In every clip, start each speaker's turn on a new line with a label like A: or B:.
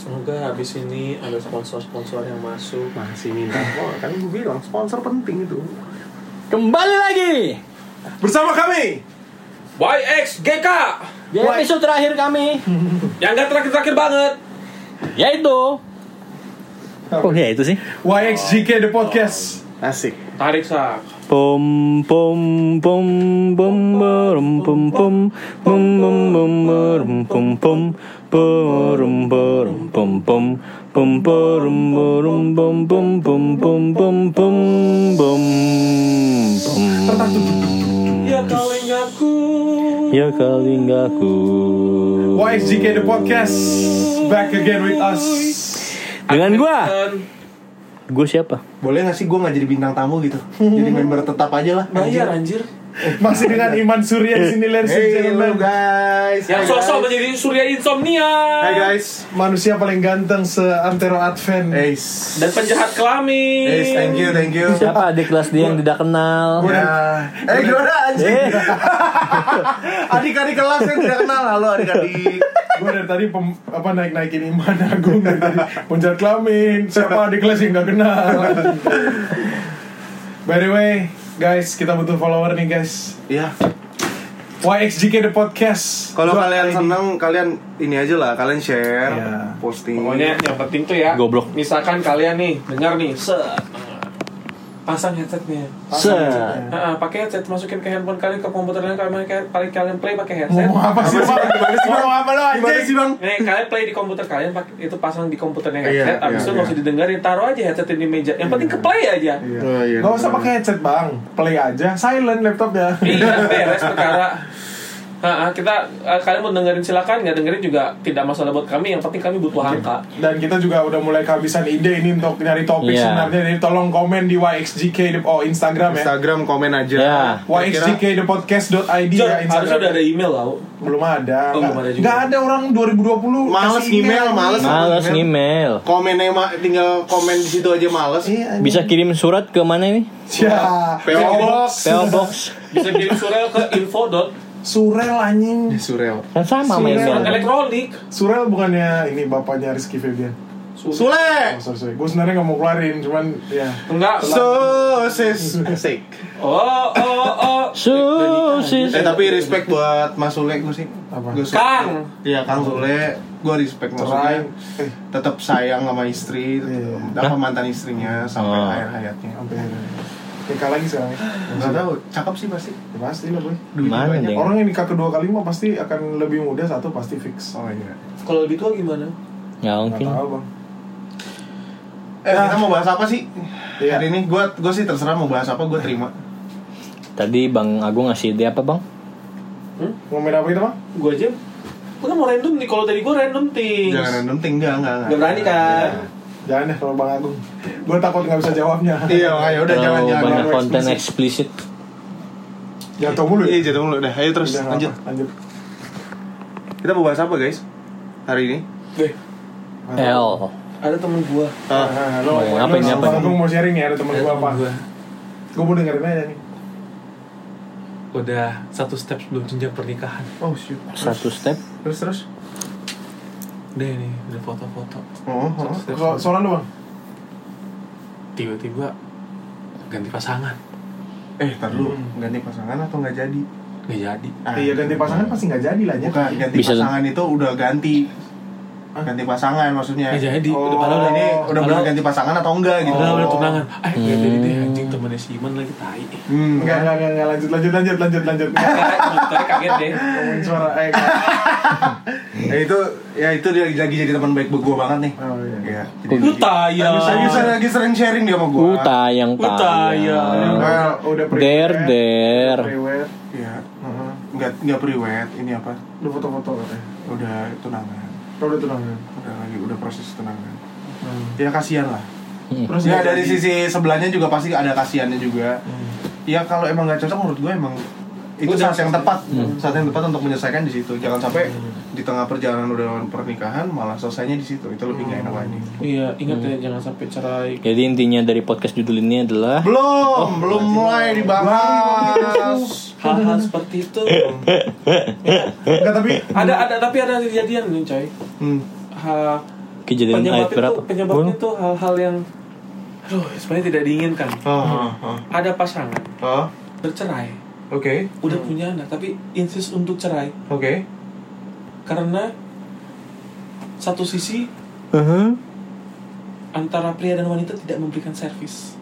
A: semoga habis ini ada sponsor-sponsor yang masuk
B: masih minta oh, kan gue bilang sponsor penting itu
C: Kembali lagi
D: Bersama kami YXGK
C: di episode terakhir kami
D: Yang gak terakhir-terakhir banget
C: yaitu Oh ya itu sih.
D: YXGK The Podcast
B: asik
D: Tarik sak
C: Pom pom pom pom berum pom pom pom pom pom berum pom pom berum berum pom pom pom berum berum pom pom pom pom pom pom pom pom.
A: ya kau ingatku
C: Ya kali nggak ku.
D: YXGK The Podcast Back again with us
C: Dengan gua, gua siapa?
E: Boleh gak sih gue gak jadi bintang tamu gitu Jadi member tetap aja lah
A: bayar anjir
D: Masih dengan Iman Surya di sini ladies and
E: Hey
D: gentlemen.
E: lo guys
A: yang sosok menjadi surya insomnia
E: Hai guys
D: Manusia paling ganteng seantero Advent
E: Hey
A: dan penjahat kelamin
E: Hey thank you thank you
C: Siapa adik kelas dia yang tidak kenal?
E: Ya. Eh gimana anjing
C: Eh.
E: Adik-adik kelas yang tidak kenal Halo adik-adik
D: Gue dari tadi pem- apa naik-naikin Iman Agung dari tadi Penjahat kelamin Siapa adik kelas yang gak kenal By the way Guys, kita butuh follower nih guys
E: Ya
D: YXGK The Podcast
E: Kalau
D: Dua
E: kalian
D: kali di-
E: seneng Kalian ini aja lah Kalian share
D: Iya.
E: Posting
A: pokoknya yang penting tuh ya
C: Goblok.
A: misalkan kalian nih dengar nih set pasang headsetnya
C: Set.
A: Nah, pakai headset masukin ke handphone kalian ke komputer kalian kalian kalian, kalian play pakai headset
D: Ngomong apa sih Bang? Ngomong apa lo
E: Gimana
D: anjing
E: sih bang?
A: Nih, Eh, kalian play di komputer kalian pak- itu pasang di komputernya headset,
E: Iya,
A: abis
E: iya,
A: itu
E: iya.
A: nggak usah didengarin, taruh aja headset di meja. Yang penting ke play aja.
E: Oh, iya.
D: Gak usah pakai headset bang Play aja Silent laptopnya
A: Iya, beres perkara. Ha, ha, kita eh, kalian mau dengerin silakan, nggak dengerin juga tidak masalah buat kami. Yang penting kami butuh angka.
D: dan kita juga udah mulai kehabisan ide ini untuk nyari topik
C: Iya.
D: sebenarnya jadi tolong komen di YXGK oh Instagram ya
E: Instagram komen aja
C: Ya.
D: YXGK
A: Jor,
D: ya
A: harusnya udah
D: Instagram
A: ada email tau.
D: belum ada
A: Oh,
D: nggak
A: belum ada juga.
D: nggak ada orang 2020
E: Males
D: kasih
E: email, males.
C: Males ngemail.
E: Komennya mah tinggal komen di situ aja males.
D: Iya, anjing.
C: Bisa kirim surat ke mana ini?
D: ya
E: PO Box.
C: PO Box.
A: Bisa kirim surel ke info dot
D: Surel anjing
E: Surel.
C: Kan sama sama yang
D: Surat
A: elektronik.
D: Surel bukannya ini bapaknya Rizky Febian
A: Su-
E: Sule.
D: oh, sorry, sorry. gue sebenarnya nggak mau keluarin cuman ya
A: Enggak.
E: Sosis. Asik.
A: Oh, oh, oh.
C: Susis.
E: Eh tapi respect buat Mas Sule gue sih.
D: Apa?
E: Gua suka.
A: Kang.
E: Iya Kang Sule. Gue respect
D: cerai
E: maksudnya.
D: eh
E: Tetap sayang sama istri,
D: Iya.
E: tetep- apa mantan istrinya sampai
C: Oh.
E: akhir hayatnya.
D: sampai nikah lagi sekarang ya
E: Gak tahu, cakep sih pasti.
D: Ya, pasti lah boy
E: Duitnya
C: Mana
A: Iya.
E: banyak.
C: nih?
D: orang yang nikah kedua kali mah pasti akan lebih muda satu pasti fix
E: Oh iya.
A: Kalau lebih tua gimana?
C: Nggak
D: Nggak
C: Ya, mungkin.
D: tahu bang
E: Eh, kita mau bahas apa sih?
D: Ah. Iya.
E: Hari ini gue gue sih terserah mau bahas apa gue terima.
C: Tadi Bang Agung ngasih dia apa Bang?
D: Ngomongin apa kita bang?
A: Gue aja. Gue mau random nih. Kalau tadi gue random things.
E: Jangan random thing, enggak, enggak, enggak.
A: Gak berani kan?
D: Jangan deh kalau Bang Agung Gue takut nggak bisa jawabnya
E: Iya, makanya udah jangan
C: Terlalu
E: jangan.
C: Eh, banyak
D: jangan
C: konten
D: eksplisit.
C: eksplisit.
D: Jatuh mulu
E: Iya,
D: ya?
E: jatuh mulu. Udah, ayo terus
D: Udah, nggak
E: lanjut.
D: apa, lanjut
E: Kita mau bahas apa, guys? Hari ini?
A: Deh,
C: L.
A: ada temen gue.
D: Ah, ah, lo
C: Oh,
D: lo-
C: ngapain,
D: lo-
C: ngapain?
D: Bang Agung mau sharing nih ada temen
A: Ada
D: gue apa
A: temen gua.
D: Gue mau dengerin aja nih
A: Udah satu step sebelum jenjang pernikahan.
E: Oh, shoot.
C: Satu step.
E: Terus terus.
A: Udah nih, udah foto-foto.
E: Oh, oh.
A: Satu step.
D: Kalau soalan lo bang
A: Tiba-tiba ganti pasangan.
E: Eh, ntar dulu. Ganti pasangan atau nggak jadi?
A: Nggak jadi.
E: Ah,
D: Hmm. Iya ganti pasangan pasti nggak jadi lah ya
E: Bukan, ganti
C: Bisa.
E: pasangan itu udah ganti. Ganti pasangan maksudnya.
A: Nggak Ya jadi.
D: Oh.
A: Udah padahal udah
E: Ini
A: nih.
E: udah bener ganti pasangan atau enggak gitu.
A: Udah udah tunangan. Eh, nggak jadi deh anjing temennya si Iman lagi tai.
E: Hmm,
D: Enggak, enggak, enggak, enggak, lanjut, lanjut, lanjut, lanjut, lanjut
A: Tadi kaget deh.
D: Ngomongin suara, eh nggak.
E: Ya itu ya itu dia lagi jadi teman baik buat gue banget nih.
D: Oh, iya.
E: Iya. jadi
A: Lu
E: lagi-
A: tai ya.
E: Lagi, sering- lagi sering sharing dia sama gue.
C: Uta yang
A: Utayang.
C: tayang.
D: Well, udah pre-wed,
C: Der, der.
D: pre-wed.
E: Iya. heeh. Nggak nggak priwet. Ini apa?
D: Udah foto-foto katanya
E: Udah tunangan.
D: Lo udah ya? tunangan
E: Udah lagi udah proses tunangan.
D: Hmm.
E: Ya kasihan lah.
D: Terus
E: ya
D: nggak
E: dari
D: jadi.
E: sisi sebelahnya juga pasti ada kasihannya juga.
D: Hmm.
E: Ya kalau emang nggak cocok menurut gue emang itu
A: Udah.
E: saat yang tepat, saat yang tepat untuk menyelesaikan di situ. Jangan sampai di tengah perjalanan udah pernikahan malah selesainya di situ. Itu lebih nggak enak lagi.
A: Iya, ingat ya jangan sampai cerai.
C: Jadi intinya dari podcast judul ini adalah
E: Belum, belum mulai dibahas.
A: Hal-hal seperti itu.
D: Enggak, tapi
E: Eh.
A: Ada ada tapi ada kejadian nih, coy.
E: Hmm.
A: Ha,
C: kejadian
A: Penyebab
C: ayat
A: itu,
C: berapa?
A: penyebabnya
C: Boleh?
A: tuh hal-hal yang aduh sebenarnya tidak diinginkan.
E: Ah, ah,
A: Ada pasangan
E: ah.
A: bercerai,
E: Oke,
A: udah punya anak tapi insist untuk cerai
E: oke.
A: karena satu sisi
C: Aha.
E: Uh-huh.
A: antara pria dan wanita tidak memberikan servis.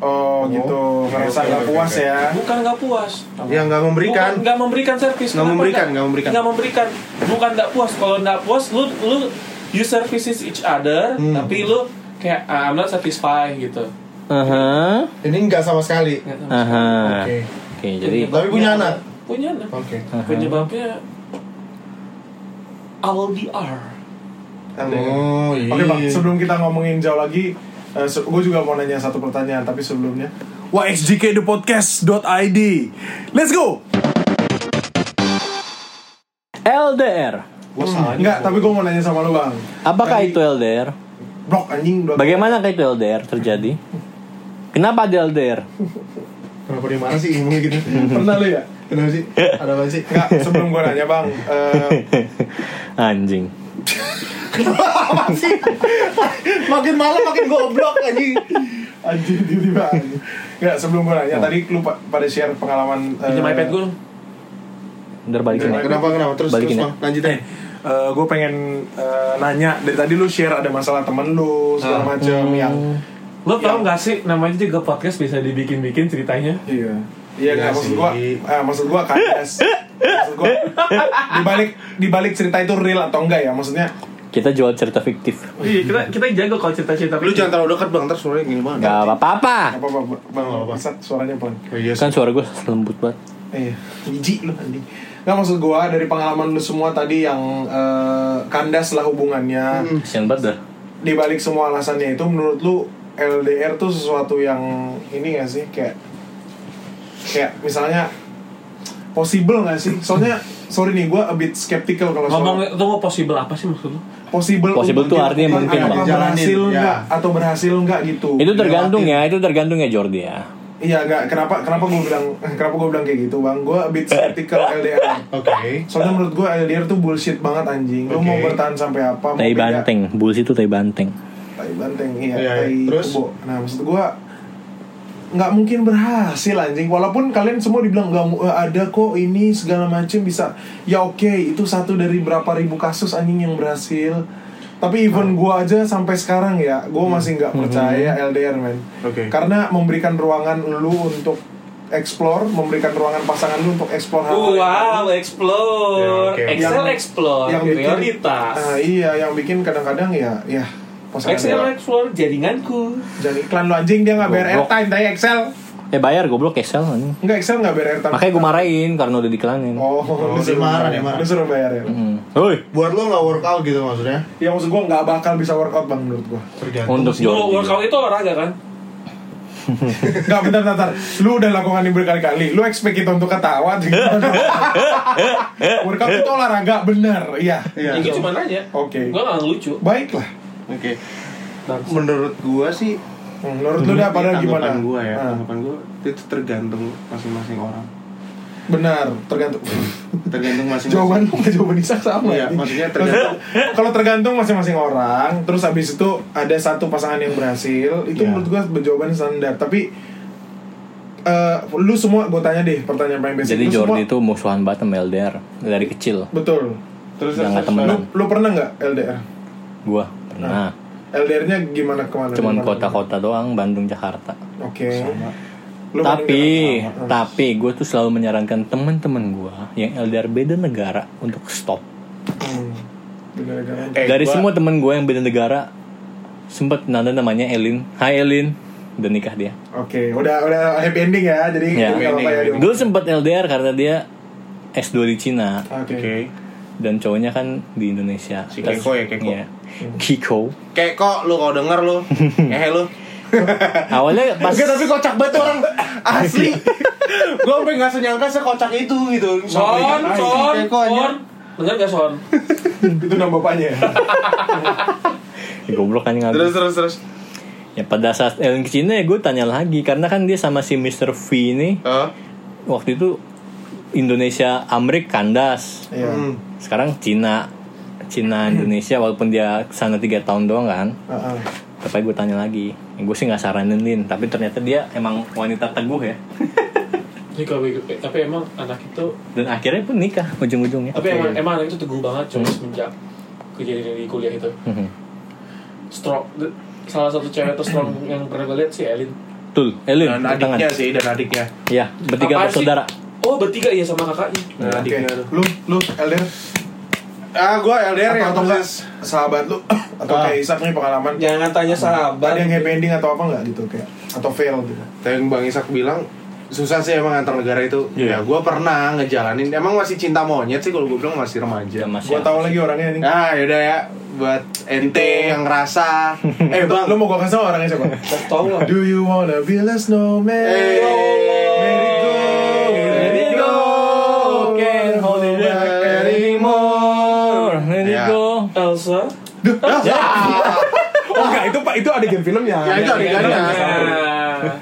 D: Oh, gitu. Ngerasa
E: Oke,
D: nggak
E: oke,
D: puas
E: oke.
D: ya.
A: Bukan nggak puas.
E: Ya nggak memberikan.
A: Bukan nggak memberikan servis.
E: Nggak
A: Kenapa
E: memberikan, nggak memberikan.
A: Nggak memberikan. Bukan nggak puas. Kalau nggak puas, lu lu you services each other,
E: Hmm.
A: tapi lu kayak "Ah, I'm not satisfied gitu.
C: Aha.
E: Ini nggak sama sekali.
A: Nggak sama.
C: Aha.
E: Oke,
C: Oke, jadi
E: Tapi punya anak?
A: Punya anak.
E: oke.
A: Uh-huh. Penyebabnya LDR.
E: Oh iya.
D: Oke bang, sebelum kita ngomongin jauh lagi, eh, se- gue juga mau nanya satu pertanyaan, tapi sebelumnya YXJKThePodcast.id Let's go!
C: LDR.
E: Gua salah.
D: Enggak, tapi gue mau nanya sama lu bang
C: Apakah
D: Tadi-
C: itu LDR?
D: Blok anjing dua
C: Bagaimana itu LDR terjadi? Kenapa ada LDR?
E: Kenapa dia marah sih ngomongnya gitu?
D: Pernah lu ya?
E: Kenapa sih? Ada apa sih?
D: Enggak, sebelum gue nanya bang eh,
C: Anjing.
E: Makin malam makin goblok anjing.
D: Anjing tiba-tiba anjing. Enggak, sebelum gue nanya, tadi lu pa- pada share pengalaman eh,
A: Pinjam iPad gue dong.
C: Ntar balikin ya.
E: Kenapa kenapa terus
C: Balikin
E: terus
C: ya.
E: bang
D: gitu
E: lanjutin.
D: gue pengen eh, nanya dari tadi lu share ada masalah temen lu segala macam ya. yang
A: Lo tau gak sih namanya juga podcast bisa dibikin-bikin ceritanya?
D: Iya.
E: Iya
D: Iya nggak maksud
E: sih.
D: gua, eh, maksud gua kandas. maksud gua di balik di balik cerita itu real atau enggak ya? Maksudnya
C: Kita jual cerita fiktif.
A: Iya, kita kita jago kalau cerita-cerita.
E: Eh, Lu jangan terlalu dekat bang, ntar suaranya gini banget.
C: Gak apa-apa.
D: apa apa bang? Sat, suaranya pelan.
E: Oh, iya sih.
C: Kan suara gue lembut banget.
D: Iya. Jijik lu anjing. Nggak maksud gua dari pengalaman lu semua tadi yang eh, kandas lah hubungannya.
C: Kasian banget dah.
D: Di balik semua alasannya itu menurut lu LDR tuh sesuatu yang ini gak sih kayak kayak misalnya possible gak sih? Soalnya sorry nih gua a bit skeptical kalau soal-
A: Ngomong itu mau possible apa sih maksud lu?
D: possible
C: Possible
D: untuk
C: tuh artinya
D: dilakukan,
C: mungkin,
D: apakah
E: Bang. Jalanin,
D: berhasil
E: ya.
D: enggak atau berhasil enggak gitu
C: Itu tergantung ya, itu tergantung ya Jordi ya.
D: iya enggak kenapa kenapa gue bilang kenapa gue bilang kayak gitu bang gue a bit skeptical LDR
E: Kan- Oke.
D: soalnya menurut gue LDR tuh bullshit banget anjing lu
E: Oke.
D: mau bertahan sampai apa mau
E: ya?
C: Tai
D: beda-
C: banteng, bullshit itu tai banteng.
D: tai banteng iya
E: Iya,
D: tai
E: iya. Terus?
D: kubo. nah maksud gue nggak mungkin berhasil anjing walaupun kalian semua dibilang nggak mu- eh, ada kok ini segala macem bisa ya oke itu satu dari berapa ribu kasus anjing yang berhasil tapi
E: Hmm.
D: even gua aja sampai sekarang ya gua masih nggak percaya LDR men
E: Oke.
D: karena memberikan ruangan lu untuk explore memberikan ruangan pasangan lu untuk explore hal lain.
A: Wow, explore,
E: Ah, oh, iya. Ya, oke.
A: Excel explore, prioritas.
D: Ah, iya yang bikin kadang-kadang ya
E: iya.
D: ya pasangan
A: Excel
D: lu-
A: explore jaringanku.
D: jadi iklan lu anjing dia nggak bayar
C: Goblok.
D: airtime tapi Excel
C: Eh bayar goblok kesel anjing.
D: nggak Excel nggak bayar airtime
C: Makanya gue marahin karena udah diklanin.
D: oh, lu
E: dia
D: suruh
E: marah,
D: bayar.
E: dia marah.
D: lu suruh bayar ya
C: Hmm. Hoi,
E: Buat lo nggak workout gitu maksudnya?
D: ya maksud gua nggak bakal bisa workout bang menurut gua
E: Tergantung. kan.
C: untuk
A: Lu
C: Jordi.
A: workout itu olahraga kan?
D: nggak bentar bentar bentar. lu udah lakukan ini berkali-kali lu expect kita untuk ketawa atau gimana? workout itu olahraga bener iya
E: Iya.
A: Ya, gue cuma nanya.
D: Oke.
A: Gue nggak lucu.
D: baiklah
E: Oke. Menurut gua sih
D: Hmm, menurut lu dah pada
E: Ini
D: gimana
E: tanggapan gua ya,
D: Ah,
E: tanggapan gua itu tergantung masing-masing orang.
D: benar tergantung
E: Tergantung masing-masing.
D: jawaban lu sama jawaban Isak sama
E: Iya,
D: ini.
E: maksudnya tergantung.
D: kalau tergantung masing-masing orang terus habis itu ada satu pasangan yang berhasil itu
E: Iya.
D: menurut gua jawaban standar tapi eh, lu semua gue tanya deh pertanyaan paling basic
C: Jadi
D: lu
C: Jordi
D: semua,
C: itu musuhan banget sama LDR dari kecil.
D: betul
E: Terus
C: Udah nggak
E: terus- Nah,
C: temenan.
D: lu, lu pernah nggak LDR
C: Gua
D: Nah,
C: pernah.
D: LDR-nya gimana kemana
C: Cuman
D: Kemana?
C: kota-kota doang, Bandung, Jakarta.
D: oke Lu
C: tapi
D: Bandung, Jakarta.
C: tapi gue tuh selalu menyarankan teman-teman gue yang LDR beda negara untuk stop.
D: Hmm. Bener-bener.
E: Eh,
C: Dari
E: gua-
C: semua teman gue yang beda negara sempet nanda namanya Elin. Hai Elin, udah nikah dia.
D: oke udah udah happy ending ya jadi
C: Ya.
D: jadi nggak apa-apa ya, Dok.
C: Dulu sempet LDR karena dia S2 di Cina
D: oke
E: Oke.
C: dan cowoknya kan di Indonesia.
E: Si Keko ya, Keko.
C: Iya. Kiko.
E: Kayak kok lu kalau denger lu. Eh lu.
C: Awalnya pas
E: Enggak, tapi kocak banget tuh orang asli. gua sampai enggak nyangka sekocak itu gitu.
A: Son, son,
E: Kayak kok aja.
A: son. Dengar gak son?
D: itu nama bapaknya
C: Ya, goblok kan nggak
E: Terus terus terus.
C: Ya pada saat Elin ke Cina ya gue tanya lagi karena kan dia sama si Mr. V ini
E: Heeh.
C: waktu itu Indonesia Amrik kandas
D: Iya.
E: Hmm.
C: sekarang Cina Cina
A: Iya.
C: Indonesia walaupun dia sana tiga tahun doang kan
D: Heeh.
C: tapi gue tanya lagi ya, gue sih nggak saranin Lin tapi ternyata dia emang wanita teguh ya
A: Ini kalau tapi emang anak itu
C: dan akhirnya pun nikah ujung-ujungnya
A: tapi emang emang anak itu teguh banget coy semenjak kejadian di kuliah itu.
C: Mhm.
A: Strong salah satu cewek itu strong yang pernah gue lihat si Elin.
C: Tul, Elin,
B: dan
C: tangan.
B: adiknya sih dan adiknya
C: Ya, bertiga
A: Apaan sih?
C: bersaudara.
A: Oh bertiga iya sama kakaknya.
B: dan
D: Nah,
E: Oke.
B: adiknya tuh
D: Lu, lu, Elder
E: Ah, gue LDR ya.
D: atau, atau enggak
E: persis.
D: sahabat lu atau
E: Ah.
D: kayak Isak nih pengalaman
B: jangan tanya sahabat
D: ada yang happy ending atau apa enggak gitu kayak atau fail gitu.
E: Tapi yang Bang Isak bilang susah sih emang antar negara itu.
C: Iya.
E: Ya, gue pernah ngejalanin. Emang masih cinta monyet sih kalau gue bilang masih
A: Iya,
C: Ya,
E: remaja.
C: Mas.
D: Gua
C: ya.
D: tahu lagi orangnya nih.
E: Nah, yaudah ya buat ente yang ngerasa eh bang
D: Lu mau gua kasih tau orangnya siapa?
A: Tau lah.
D: Do you wanna be a snowman?
E: Eh.
D: Let it go, let it go. Can't hold it back
E: anymore.
C: Let it
E: Ya.
C: go.
A: Elsa.
D: Ya. Oh enggak, itu Pak, itu adegan filmnya. Iya,
E: Ya, itu adegannya.
A: Nah.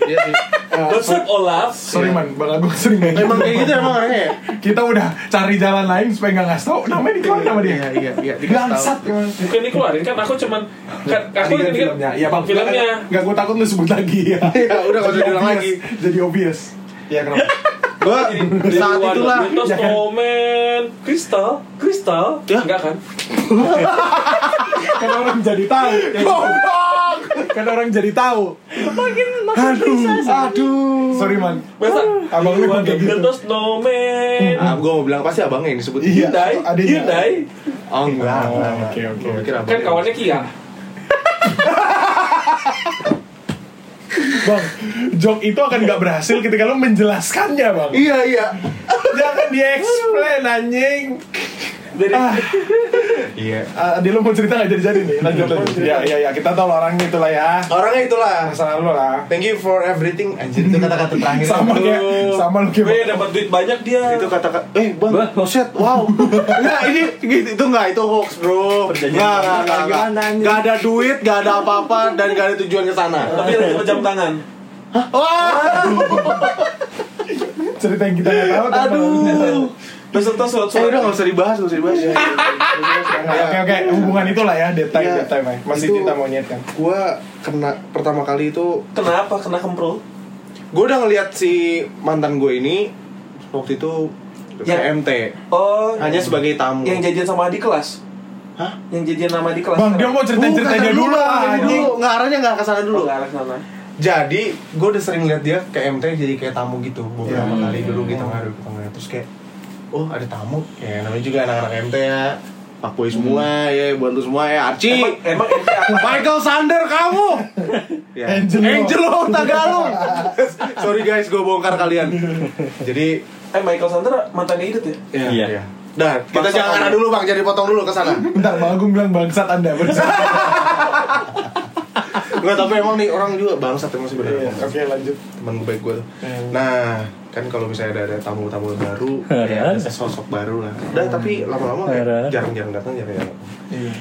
E: Iya sih.
D: Eh,
A: Iya, What's up Olaf?
D: Sorry man, Bang Agung sering
E: Emang kayak gitu emang orangnya ya?
D: Kita udah cari jalan lain supaya nggak ngasih tau namanya dikeluarin nama dia.
E: Iya, iya, iya, dikasih tahu.
D: Bangsat emang.
A: Bukan dikeluarin kan aku cuman kan aku
D: Adegan
A: ini kan
D: filmnya. Iya bang.
A: filmnya.
D: Gak gue takut lu sebut lagi ya.
E: Ya, udah, nggak usah
D: Jadi
E: diulang
D: obvious.
E: lagi.
D: Jadi obvious.
E: Ya kenapa? Gue
A: Di
E: saat
A: luar
E: itulah
A: Windows
D: ya kan?
A: Snowman, kristal, kristal,
E: Ya.
A: enggak kan?
D: Kan orang jadi tahu. Kan orang jadi tahu. Aduh, aduh. Sorry man.
A: Masa
D: Abang lu emang
A: Di
D: kayak gitu.
A: Windows Snowman.
E: Ah, gue mau bilang pasti abangnya yang disebut
D: Iya.
A: Hyundai,
D: adanya.
A: Hyundai.
E: Oh enggak,
D: Oh,
E: enggak, enggak.
D: Oke oke.
E: Gua pikir abangnya.
A: Kan kawannya Kia.
D: Bang, jok itu akan nggak berhasil ketika lu menjelaskannya bang.
E: Iya, iya.
D: Jangan di explain anjing.
A: Jadi
E: Iya.
D: Ah, Adi lu mau cerita nggak jadi-jadi nih? Lanjut lanjut. Ya ya ya kita tahu orangnya itulah ya.
E: Orangnya itulah.
D: Masa lalu lah.
E: Thank you for everything. Anjir itu kata-kata terakhir.
D: sama kayak sama lu
E: Iya,
D: kayak
A: gue dapat duit banyak dia.
E: itu kata-kata eh bang
C: Bah.
E: loset wow enggak ini gitu itu enggak itu hoax bro enggak enggak enggak
B: Gimana,
E: enggak
B: anjing?
E: Enggak ada duit enggak ada apa-apa dan enggak ada tujuan ke sana
A: Tapi ada jam tangan.
E: wah
D: cerita yang kita nggak tahu kan, tapi
E: aduh
A: Peserta
E: eh udah
A: surat-surat.
E: nggak usah dibahas nggak usah dibahas
D: Nah, Oke oke hubungan itulah ya detail
E: Iya.
D: detail ya. masih
E: Itu-
D: cinta monyet kan.
E: gue kena pertama kali itu
A: Kenapa kena kemprul?
E: gue udah ngeliat si mantan gue ini waktu itu ke
A: Ya.
E: MT
A: Oh,
E: hanya sebagai tamu
A: yang jajan sama adik kelas.
E: Hah?
A: Yang jajan sama adik kelas.
D: Bang dia mau cerita
E: Bukan,
D: ceritanya
E: dulu
D: dulu
E: lah,
D: lah
E: ini
D: anjing.
E: dulu nggak arahnya nggak ke sana dulu
A: dulu ke arah sana.
E: jadi gue udah sering lihat dia ke MT jadi kayak tamu gitu beberapa
C: Iya.
E: kali dulu gitu ngaruh ke tengah terus kayak oh ada tamu ya namanya juga anak-anak MT ya Pak Boy semua ya bantu semua ya Arci
A: Emang emang MT apa?
E: Michael Sander kamu ya.
D: Angelo.
E: Angelo Tagalog sorry guys gue bongkar kalian jadi
A: Eh Michael Sandra mantannya Idut ya?
E: ya,
C: Iya.
E: ya. Dah, kita
A: Bangsa
E: jangan
A: kamu.
E: arah dulu bang, jadi potong dulu ke sana.
D: Bentar Bang Agung bilang bangsat anda bersama.
E: Enggak, tapi emang nih orang juga bangsat emang sebenarnya.
D: Oke lanjut.
E: teman gue baik gue tuh.
D: Hmm.
E: Nah, kan kalau misalnya ada, ada tamu-tamu baru, ya ada sosok baru lah. Udah, tapi lama-lama kayak
C: Heran.
E: jarang-jarang datang, jarang-jarang. datang.
D: Hmm. Iya.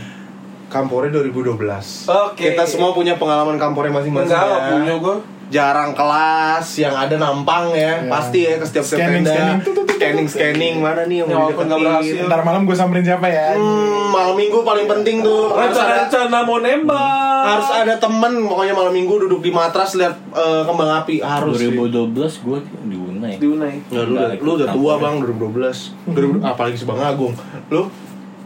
E: Kampore 2012.
A: Oke.
E: Kita semua punya pengalaman kampore masing-masing.
A: Enggak,
E: ya.
A: punya gue.
E: Jarang kelas yang ada nampang ya,
D: Iya.
E: pasti ya ke setiap setiap
D: Scanning,
E: tenda.
D: scanning. Tut, tut, tut, tut.
E: scanning, scanning, mana nih yang
A: Ya,
E: mau
A: walaupun nggak
E: dideketin.
A: berhasil.
D: Ntar malam gue samperin siapa
E: Iya.
D: ya?
E: Hmm, malam minggu paling penting tuh. Harus ada,
A: Rencana-rencana mau nembak.
E: harus ada temen, pokoknya malam minggu duduk di matras lihat eh, kembang api harus. sih.
C: 2012 gue diunai.
A: di Unai.
E: Ya, lu, udah, lu udah tua bang, 2012 2000, Apalagi si Bang Agung Lu?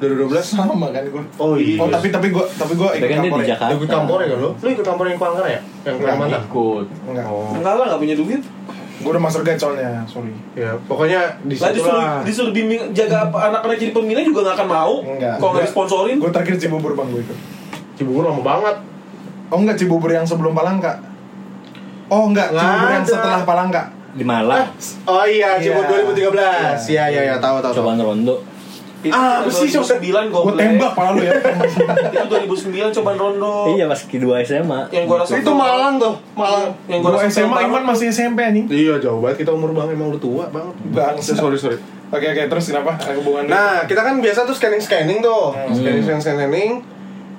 E: 2012?
D: Sama kan gue.
E: Oh iya
D: Oh tapi tapi gue tapi gue
C: Tapi kan
D: ikut
C: dia
D: kampor
C: di
D: ya.
C: Jakarta.
E: Lu ikut kampor ya kan lu? Lu ikut kampor yang Palangkaraya ya? Yang
D: Enggak,
E: Kalimantan? Oh,
C: Ikut.
D: Enggak.
A: Enggak lah, enggak punya duit.
D: Gue udah masuk gate soalnya sorry.
E: Ya pokoknya di
A: Lah
E: situ
A: disuruh
E: lah
A: disuruh bimbing jaga apa anak-anak jadi pembina juga nggak akan mau.
D: Enggak.
A: Kalau nggak disponsorin.
D: Gue terakhir Cibubur bang gue ikut.
E: Cibubur lama banget
D: Oh enggak Cibubur yang sebelum Palangka. Oh enggak
E: Nggak
D: Cibubur yang
E: ada.
D: setelah Palangka.
C: Di Malang.
E: Oh iya,
D: Iya.
E: Cibubur 2013 Iya, iya, iya,
A: Eh.
E: tahu, tahu
C: Cobaan rondo.
A: Itu
E: Ah, apa sih, Sob?
A: 2009 gue
D: Gue tembak pala lu ya.
A: Itu 2009 cobaan rondo.
C: Iya pas kedua SMA.
A: Oh. Yang gua rasa
E: Itu Malang tuh, Malang
A: Yang gua
D: Gue
A: rasa
D: SMA
A: banget.
D: Iman masih SMP anjing.
E: Iya, jauh banget kita umur bang, emang udah tua banget
D: Bangsat.
E: Sorry, sorry
D: Oke oke terus kenapa ada hubungan dulu.
E: Nah, kita kan biasa tuh scanning-scanning tuh
D: Hmm.
E: Scanning, scanning, scanning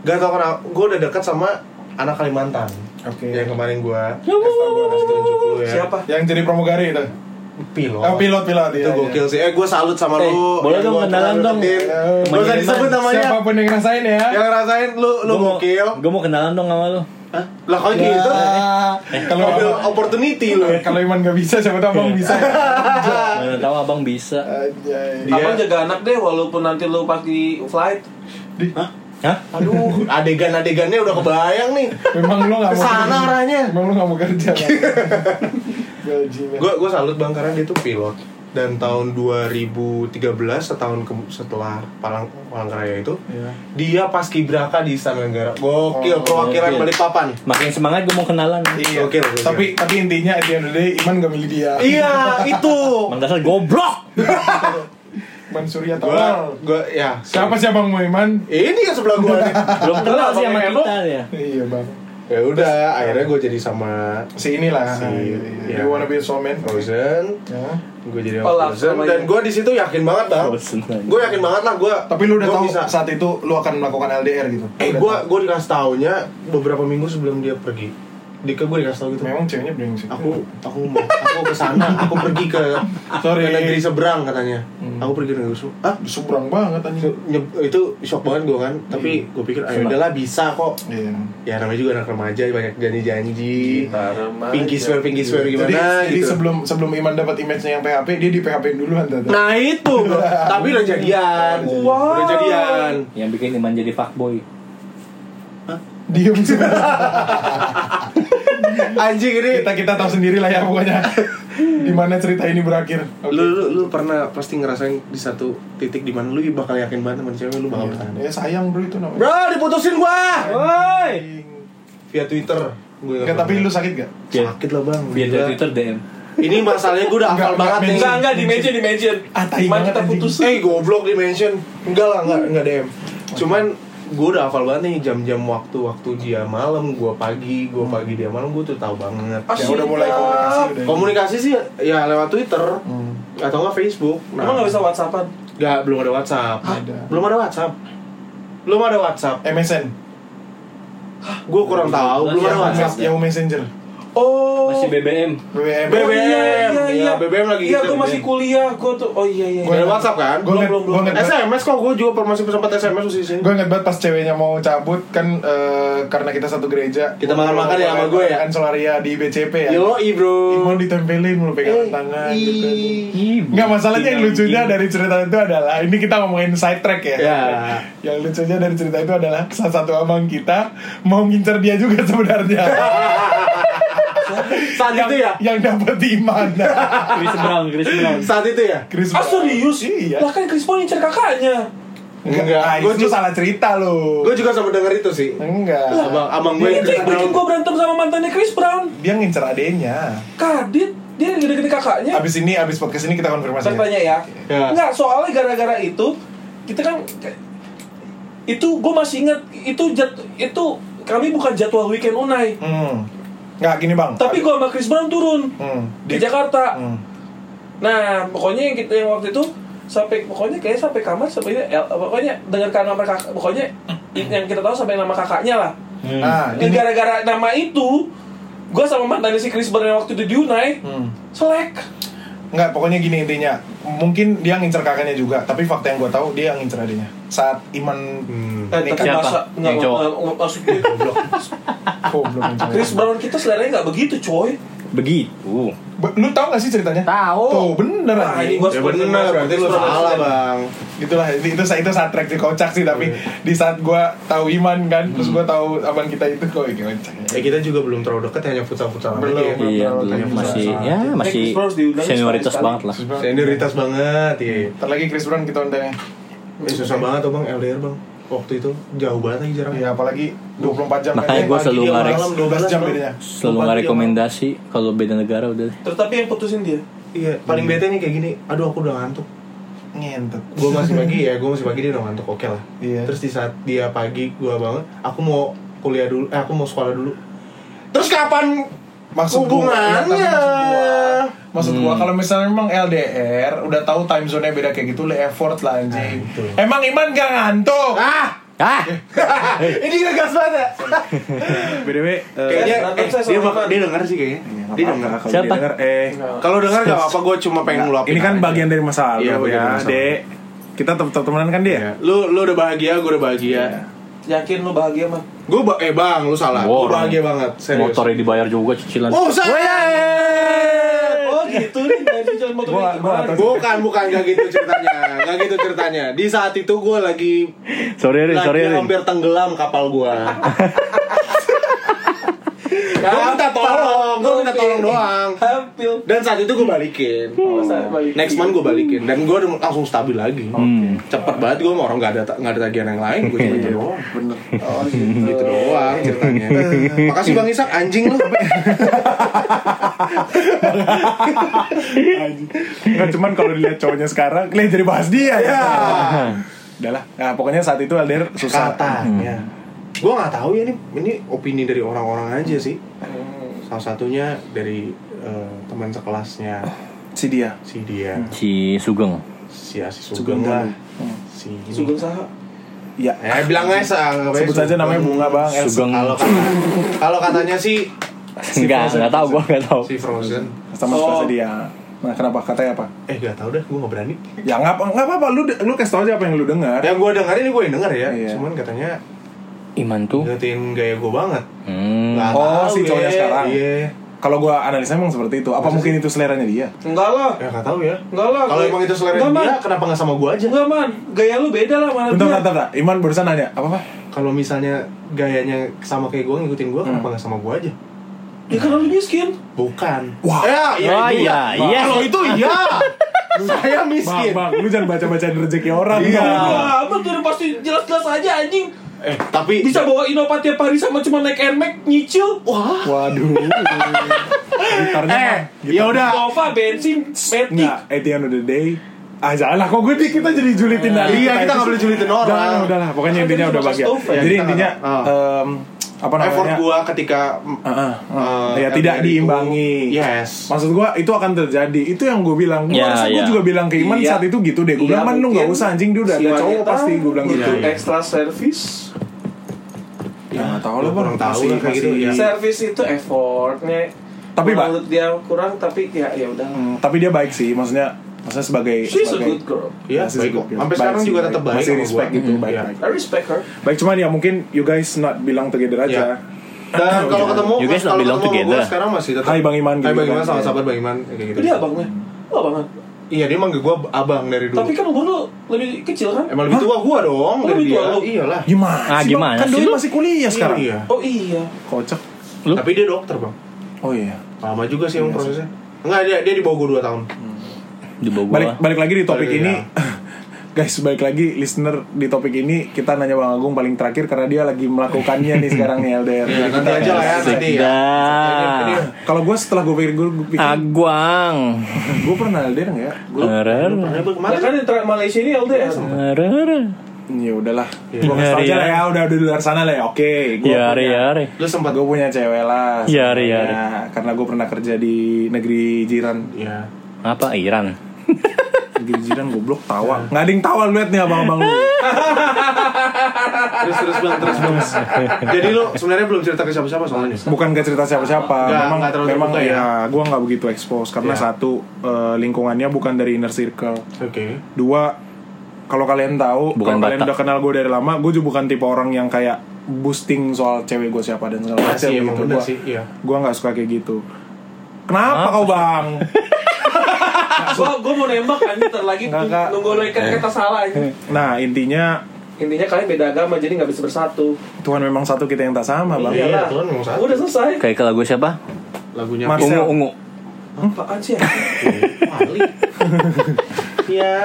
E: Gak tau kenapa, gue udah deket sama anak Kalimantan
D: Oke.
E: Yang kemarin gue kasih tau gue kasih tunjuk lu ya
A: Siapa?
D: yang jadi pramugari itu.
E: pilot.
D: Oh, pilot pilot
E: Itu gokil sih. Eh gue salut sama
C: Eh,
E: lu.
C: boleh
E: Yang
C: dong
E: gua
C: kenalan
E: terlalu
C: dong.
E: deketin.
D: Eh,
E: Gak usah disebut namanya.
D: Siapapun yang ngerasain ya.
E: Yang ngerasain lu lu gokil.
C: Gue mau kenalan dong sama lu.
A: Eh.
E: Hah? Lah kok
D: Ya, Eh,
E: gitu?
D: kalau
E: Ambil opportunity lu.
D: kalau Iman nggak bisa siapa tahu
E: Iya.
D: Bang bisa.
C: Mana tahu abang
A: Eh.
C: bisa.
E: Dia-
D: Iya.
A: Abang jaga anak deh walaupun nanti lu pas di flight.
C: Hah?
E: Aduh, adegan-adegannya udah kebayang nih.
D: Memang lu nggak mau.
E: Kesana
D: kerja.
E: arahnya.
D: Memang lu nggak mau kerja. Bang. Gaji, Bang.
E: Gue gue salut bang karena dia tuh pilot dan tahun 2013 setahun ke- setelah Palang Palangkaraya itu
D: Iya.
E: dia pas kibraka di Istana Negara. Oh, Gokil perwakilan
C: gokil.
E: Balikpapan.
C: Makin semangat gue mau kenalan.
E: Iya. Gokil. gokil.
D: Tapi tapi intinya at the end of the day Iman gak milih dia.
E: iya itu.
C: Emang dasar goblok.
D: Iman Surya
E: Gue
D: tolol.
E: gue ya.
D: Siapa sih Bang Iman?
E: Ini kan sebelah gue nih.
C: Belum kenal sih sama
E: Emang-
C: kita ya.
D: Iya, Bang.
E: Ya udah, akhirnya gue jadi sama
D: Si inilah.
E: Si-
D: Do
E: iya.
D: you wanna be a soulmate?
E: Frozen.
D: Ya.
E: Gue jadi
A: Oh,
E: sama Frozen.
A: langsung aja.
E: Dan gue di situ yakin banget bang.
C: Frozen aja.
E: Gue yakin banget lah gue.
D: Tapi lu udah
E: gua
D: tahu
E: bisa.
D: saat itu lu akan melakukan LDR gitu.
E: Eh
D: Udah
E: gue
D: tahu.
E: gue dikasih taunya beberapa minggu sebelum dia pergi. Dika gue dikasih tau gitu.
D: memang ceweknya brengsek.
E: Aku aku mau aku ke sana, aku pergi ke
D: Sorry.
E: ke
D: Hmm.
E: negeri seberang katanya. Aku pergi ke negeri seberang. Ah,
D: Subrang banget anjing.
E: nyeb- itu shock banget gue kan.
D: Hmm.
E: Tapi gue pikir ayo udahlah bisa kok.
D: Iya.
E: Ya namanya juga anak remaja banyak janji-janji. Pinky swear, pinky swear gimana
D: Jadi, jadi
E: gitu.
D: sebelum sebelum Iman dapat image-nya yang PHP, dia di PHP duluan tadi.
E: Nah itu, bro. tapi udah jadian,
A: Wow.
E: udah jadian.
C: Yang bikin Iman jadi fuckboy.
D: Diem sih.
E: Anjing ini.
D: kita kita tahu sendiri lah ya pokoknya. di mana cerita ini berakhir. Oke.
E: Lu, lu, lu pernah pasti ngerasain di satu titik di mana lu bakal yakin banget sama cewek lu bakal bertahan.
D: Ya sayang bro itu namanya.
E: Bro, diputusin gua
C: Woi.
E: via Twitter. Gue
D: Enggak, tapi lu sakit gak?
E: sakit lah bang.
C: Biar
E: Gila.
C: dari Twitter DM.
E: Ini masalahnya gue udah hafal
D: Enggak,
E: banget nih.
A: Enggak, Ah, enggak, di mention, di mention.
D: Ah, tai
A: Cuman
D: banget,
A: kita
D: anjing.
A: putus.
E: Eh goblok di mention. Enggak lah, enggak, enggak DM. Cuman gue udah hafal banget nih jam-jam waktu-waktu dia malam, gue pagi, gue pagi dia malam, gue tuh tahu banget.
A: Ah,
D: Ya udah mulai
A: siap.
D: komunikasi udah.
E: Komunikasi sih ya lewat Twitter
D: Hmm.
E: atau enggak Facebook. Nah,
A: Emang nggak bisa whatsappan?
E: Enggak, belum ada WhatsApp.
D: Hah? Ada.
E: Belum ada WhatsApp. Belum ada WhatsApp.
D: MSN.
E: Gue kurang tahu, belum Iya. ada
D: Yahoo
E: WhatsApp.
D: Mes- Yahoo Messenger.
A: Oh.
C: Masih BBM.
D: BBM.
E: BBM.
A: Oh, iya, iya,
E: Ya,
A: iya.
E: BBM lagi
A: Iya, gue
E: gitu, BBM.
A: masih kuliah, gue tuh. Oh iya iya.
E: Gak ada WhatsApp kan?
D: Gue
A: Belum,
D: ngeliat,
A: belum,
D: gue
A: belum.
D: ngeliat,
E: SMS kok gue juga per- masih sempat SMS sih sini.
D: gue inget banget pas ceweknya mau cabut kan eh, karena kita satu gereja
E: Kita makan-makan ya sama gue ya?
D: kan solaria di BCP ya
E: Yo, Eh, iya. i bro.
D: Iman ditempelin mulu pegangan tangan gitu Nggak
C: Enggak
D: masalahnya
E: Iya,
D: yang lucunya dari cerita itu adalah Ini kita ngomongin side track ya
E: Ya.
D: Yang lucunya dari cerita itu adalah Salah satu abang kita Mau ngincer dia juga sebenarnya
E: Saat itu Oh, ya.
D: Yang dapet iman
C: Chris Brown, Chris
D: kan.
C: Brown.
E: Saat itu ya.
D: Chris
A: Ah serius?
D: Iya
A: Lah kan Chris Paul ngincer kakaknya.
D: Enggak, ah,
E: Gua
D: itu
E: juga-
D: salah cerita lo
E: Gue juga sempat denger itu sih.
D: Enggak
E: Abang, abang gue.
A: Itu yang bikin gue berantem sama mantannya Chris Brown.
D: Dia ngincer adenya
A: Kadit, dia gede-gede kakaknya.
D: Abis ini, abis podcast ini kita konfirmasi
A: Saya tanya ya.
E: Ya.
A: Enggak, soalnya gara-gara itu kita kan itu gue masih ingat itu jad, itu kami bukan jadwal weekend Unai.
D: Hmm. Nggak gini bang.
A: Tapi gue sama Chris Brown turun
D: Hmm.
A: di Jakarta.
D: Hmm.
A: Nah, pokoknya yang kita yang waktu itu sampai pokoknya kayak sampai kamar sampai ini, eh, pokoknya dengarkan nama kakak pokoknya yang kita tahu sampai nama kakaknya lah.
C: Hmm.
D: Nah,
A: Dan
D: gini.
A: gara-gara nama itu gue sama mantan si Chris Brown yang waktu itu di Unai
D: Hmm.
A: selek.
D: Nggak, pokoknya gini intinya. Mungkin dia ngincer kakaknya juga, tapi fakta yang gue tahu dia ngincer adanya. Saat Iman
E: Hmm.
A: Eh, tapi
C: Siapa?
A: masa nggak
C: Yang cowok?
A: nggak- nggak- maksudnya goblok.
D: oh, belum ngincer.
A: Chris Brown kita seleranya nggak begitu coy
C: Begitu.
D: Be- lu tahu gak sih ceritanya? Tahu. Tuh, bener
A: Nah, ini
D: anjing.
A: gua
E: Ya bener, berarti lu salah bang.
D: Itulah itu itu itu saat track di kocak sih, tapi
A: Iya.
D: di saat gue tahu Iman kan,
A: Hmm.
D: terus gue tahu abang kita itu kok ini kocak.
E: Ya kita juga belum terlalu dekat hanya futsal-futsal
D: Belum.
E: aja ya.
D: Belum.
C: Iya,
D: Belum.
C: belum masih ya
A: Chris
C: masih
A: Brown diundang
C: senioritas
A: sekali-sekali.
C: banget lah.
D: Terus gua-
E: Senioritas banget, iya.
D: Ntar lagi Chris Brown kita undang
E: Eh, susah banget tuh bang LDR bang. Waktu itu jauh banget lagi jaraknya.
D: ya. apalagi 24 jam
C: Makanya
D: kan,
C: gua
D: pagi
C: selalu
E: Iya,
D: dia
C: ngarek.
D: malam 12 jam bedanya.
C: Selalu
E: ya,
C: nggak rekomendasi kalau beda negara udah. deh.
A: Terus tapi yang putusin dia
E: Iya, paling bete nih kayak gini. Aduh, aku udah ngantuk.
D: Ngentet.
E: Gue masih pagi ya, gue masih pagi dia udah ngantuk, oke lah.
D: Iya.
E: Terus di saat dia pagi, gue banget. Aku mau kuliah dulu, eh, aku mau sekolah dulu. Terus kapan
D: maksud gua-
E: hubungannya?
D: tapi maksud gua- maksud gua kalau misalnya memang LDR udah tahu time zone-nya beda kayak gitu lu effort lah anjing
E: Nah, itu.
D: emang Iman gak ngantuk
E: Ah,
C: Ah.
B: Ini gak gas banget ya?
D: BDW, eh,
E: Kayaknya eh,
A: Saya
E: dia,
A: sama
E: bak- dia denger sih kayaknya. Dia denger. Iya.
D: kalau
C: Siapa?
D: dia denger, eh,
E: Iya, Kalau denger gak apa-apa, gue cuma pengen
D: nggak,
E: ngeluapin.
D: ini kan
E: aja.
D: bagian dari masa lalu
E: Iya, bagian dari
D: ya,
E: masa lalu.
D: Dek. Kita tetap temenan kan dia?
E: Iya. Lu lu udah bahagia, gue udah bahagia.
A: Yakin lu bahagia mah?
E: Gue ba eh bang, lu salah. Gue
C: Wow.
E: bahagia banget, serius.
C: Motornya dibayar juga cicilan.
E: Oh, saya.
A: Oh gitu nih dari jalan motor
D: Gua-
A: ini
D: gua
A: gimana?
D: atas-
E: Bukan, bukan gak gitu ceritanya, gak gitu ceritanya. Di saat itu gue lagi
C: Sorry Rin,
E: lagi
C: sorry Rin.
E: hampir tenggelam kapal gue. gue minta tolong, gue minta tolong doang.
A: Hampir.
E: Dan saat itu gue balikin.
A: saya balikin.
E: Next month gue balikin dan gue langsung stabil lagi.
C: Hmm.
E: Cepet banget gue sama orang gak ada gak ada tagihan yang lain. Gue cuma itu doang. Bener.
A: Iya. Oh gitu.
E: Itu doang ceritanya. Makasih bang Isak anjing lu.
D: Enggak cuman kalau dilihat cowoknya sekarang, lihat jadi bahas dia ya.
E: Iya.
D: Udahlah. Nah, pokoknya saat itu LDR susah.
E: Katanya. Gue nggak tahu ya ini ini opini dari orang-orang aja sih. Salah satunya dari eh, teman sekelasnya
B: Si dia
E: si dia,
C: Si Sugeng.
E: si Asi Sugeng lah. Si
A: Sugeng Saha.
D: Ya.
E: Eh bilang aja ah, apa ya,
D: Sebut saja
E: Sugeng.
D: namanya Bunga Bang. Elsa.
C: Sugeng.
E: Kalau kata- kalau katanya sih
C: Enggak, enggak tahu gua enggak tahu.
E: si Frozen.
D: Sama
A: Oh.
D: suka dia. Nah, kenapa katanya apa?
E: Eh gak tahu dah, gue gak berani.
D: Ya nggak apa- nggak apa-apa. Lu lu kasih tau aja apa yang lu dengar.
E: Yang gue dengerin ini gue yang denger ya.
D: Iya.
E: Cuman katanya
C: Iman tuh.
E: ngertiin gaya gue banget.
C: Hmm.
E: Nggak
D: Oh,
E: tahu
D: si cowoknya
E: ya.
D: sekarang.
E: Iya.
D: Kalau gua analisa emang seperti itu. Apa mungkin itu seleranya dia?
A: Enggak lah.
E: Ya gak tahu ya.
A: Enggak lah.
E: Kalau emang itu selera
A: Enggak, Man.
E: dia, kenapa gak sama gue aja?
A: Enggak man, gaya lu beda lah mana
D: Bentar,
A: dia.
D: bentar, bentar. Iman barusan nanya, apa apa?
E: kalau misalnya gayanya sama kayak gue ngikutin gue kenapa nggak sama gue aja
A: Ya karena lu miskin.
E: bukan
D: Wah.
E: ya, ya,
C: Oh,
E: itu
C: iya, iya.
E: kalau itu iya saya miskin
D: Bang, bang, lu jangan baca-bacain rezeki orang.
E: Iya.
D: Bang.
A: Wah, apa tuh udah pasti jelas-jelas aja anjing.
E: eh tapi
A: Bisa bawa Innova tiap hari sama cuma naik Air Max nyicil.
E: wah
D: Waduh. Gitarnya
E: eh
D: Bang.
E: ya udah
A: Innova bensin
D: Nggak,
A: metik.
D: at the end of the day Ah janganlah kok gue di- kita jadi julitin dari
E: Iya, kita nggak boleh julitin orang.
D: Jangan, udahlah Pokoknya
A: Kan
D: intinya
A: kita
D: udah
A: cuma
D: bahagia
A: Christopher.
D: Jadi
E: Kita nggak-
D: intinya
E: ah.
D: em, Apa namanya
E: effort gue ketika mm,
D: Heeh, heeh.
E: Eh,
D: ya tidak
E: LDR itu-
D: diimbangi.
B: Iya.
E: Yes.
D: Maksud gua itu akan terjadi. Itu yang gue bilang. Gua
C: Ya,
D: rasa gua
C: ya.
D: juga bilang ke Iman
A: Iya.
D: saat itu gitu deh. Gue
A: Iya,
D: bilang Iman lu
A: mungkin
D: nggak usah anjing dia udah
A: si
D: ada cowok
A: wanita
D: pasti gue bilang gitu.
A: butuh
E: Iya, iya.
A: Extra service.
D: Ya nggak tahu
E: Gua
D: lah bang.
E: Iya, kurang tahu
D: Masih-
E: lah kayak gitu,
D: masih-
E: Iya.
A: Service itu effortnya.
D: Tapi, Pak.
A: menurut dia kurang tapi ya ya udah.
D: Hmm, tapi dia baik sih. Maksudnya maksudnya sebagai
A: She's a
D: sebagai
A: good girl.
E: ya
D: masih
E: baik
D: good
E: kok
D: girl.
E: sampai
D: Baik
E: sekarang
D: sih,
E: juga tetap baik
D: Masih
E: sama
D: respect
E: gua.
D: gitu.
E: Mm,
D: Baik.
E: iya.
D: baik.
A: I respect her.
D: Baik cuman ya mungkin you guys not bilang together aja.
E: Iya. dan kalau ketemu
C: You guys
E: kalau
C: not belong
E: ketemu sama
C: together.
E: gua sekarang masih tetap
D: Iya. Hai, Bang Iman, Iya,
E: Hai
D: gitu
E: Bang Iman
D: kan.
E: sama sahabat Bang Iman kayak gitu
A: Itu dia abangnya. Lu abangan.
E: iya dia manggil gue abang dari dulu
A: Tapi kan umur lu lebih kecil kan?
E: emang lebih tua gue dong
A: Oh,
E: dari
A: lebih tua
E: dia
A: lu?
E: iyalah
D: Gimana?
C: Ah,
D: sih, Bang?
C: gimana
D: Kan
C: sih
D: doi
C: lu?
D: masih kuliah sekarang.
E: iya
A: Oh iya.
D: Kocak.
C: Lu?
E: tapi dia dokter bang
D: Oh iya.
E: lama juga sih emang prosesnya enggak dia dia di bawah gue 2 tahun
C: Di bawah gua.
D: balik balik lagi di topik
E: Sorry,
D: ini
E: ya.
D: guys balik lagi listener di topik ini kita nanya bang Agung paling terakhir karena dia lagi melakukannya nih sekarang nih LDR
E: Iya, nanti
D: kita-
E: aja lah ya
C: Asik
E: nanti ya
C: dah.
E: Ini-
D: kalau gue setelah gue pikir gue pikir
C: Aguang.
D: gue pernah LDR nggak ya
E: Gua-
C: Keren.
E: gua pernah ikut
A: Mana
E: kemarin
A: kan internet Malaysia ini LDR.
C: Arara.
D: ya udahlah
E: Iya.
D: gue kasih tau aja
C: Iya.
D: lah ya udah udah di luar sana lah ya oke gue
C: Yare
D: punya
C: yare.
E: lu sempat
D: gue punya cewek lah
C: Iya,
D: sebenarnya.
C: iya, iya.
D: karena gue pernah kerja di negeri jiran
E: ya
C: Apa Iran?
D: negeri jiran goblok tawa nggak ada yang tawa lu liat nih abang-abang lu
E: terus terus bang terus bang jadi lu sebenarnya belum cerita ke siapa siapa soalnya
D: bukan gak cerita siapa-siapa
E: Nggak-
D: memang
E: nggak terlalu
D: memang
E: terbuka ya?
D: ya, gue nggak begitu expose karena
E: Ya.
D: satu eh, lingkungannya bukan dari inner circle
E: oke
D: dua kalau kalian tahu
C: Bukan
D: kalau kalian
C: Batak.
D: udah kenal gue dari lama gue juga bukan tipe orang yang kayak boosting soal cewek gue siapa dan segala
E: Iya
D: macam
E: sih, emang
D: gitu
E: bener
D: gue
E: sih, iya.
D: gue nggak suka kayak gitu kenapa kau bang
A: Gua gua mau nembak kan ntar lagi
D: Nggak, Iya. Kak.
A: nunggu lo ikat kata salah aja.
D: nah intinya
A: Intinya kalian beda agama jadi nggak bisa bersatu.
D: Tuhan memang satu kita yang tak sama bang
E: Iya,
A: Iyalah.
E: Tuhan ngomong satu.
A: Udah selesai.
C: Kayak ke lagu siapa?
E: lagunya
D: Mar-
C: Ungu
D: Iya. Marcel.
C: ungu.
A: Apaan sih? anjing?
E: Wali ya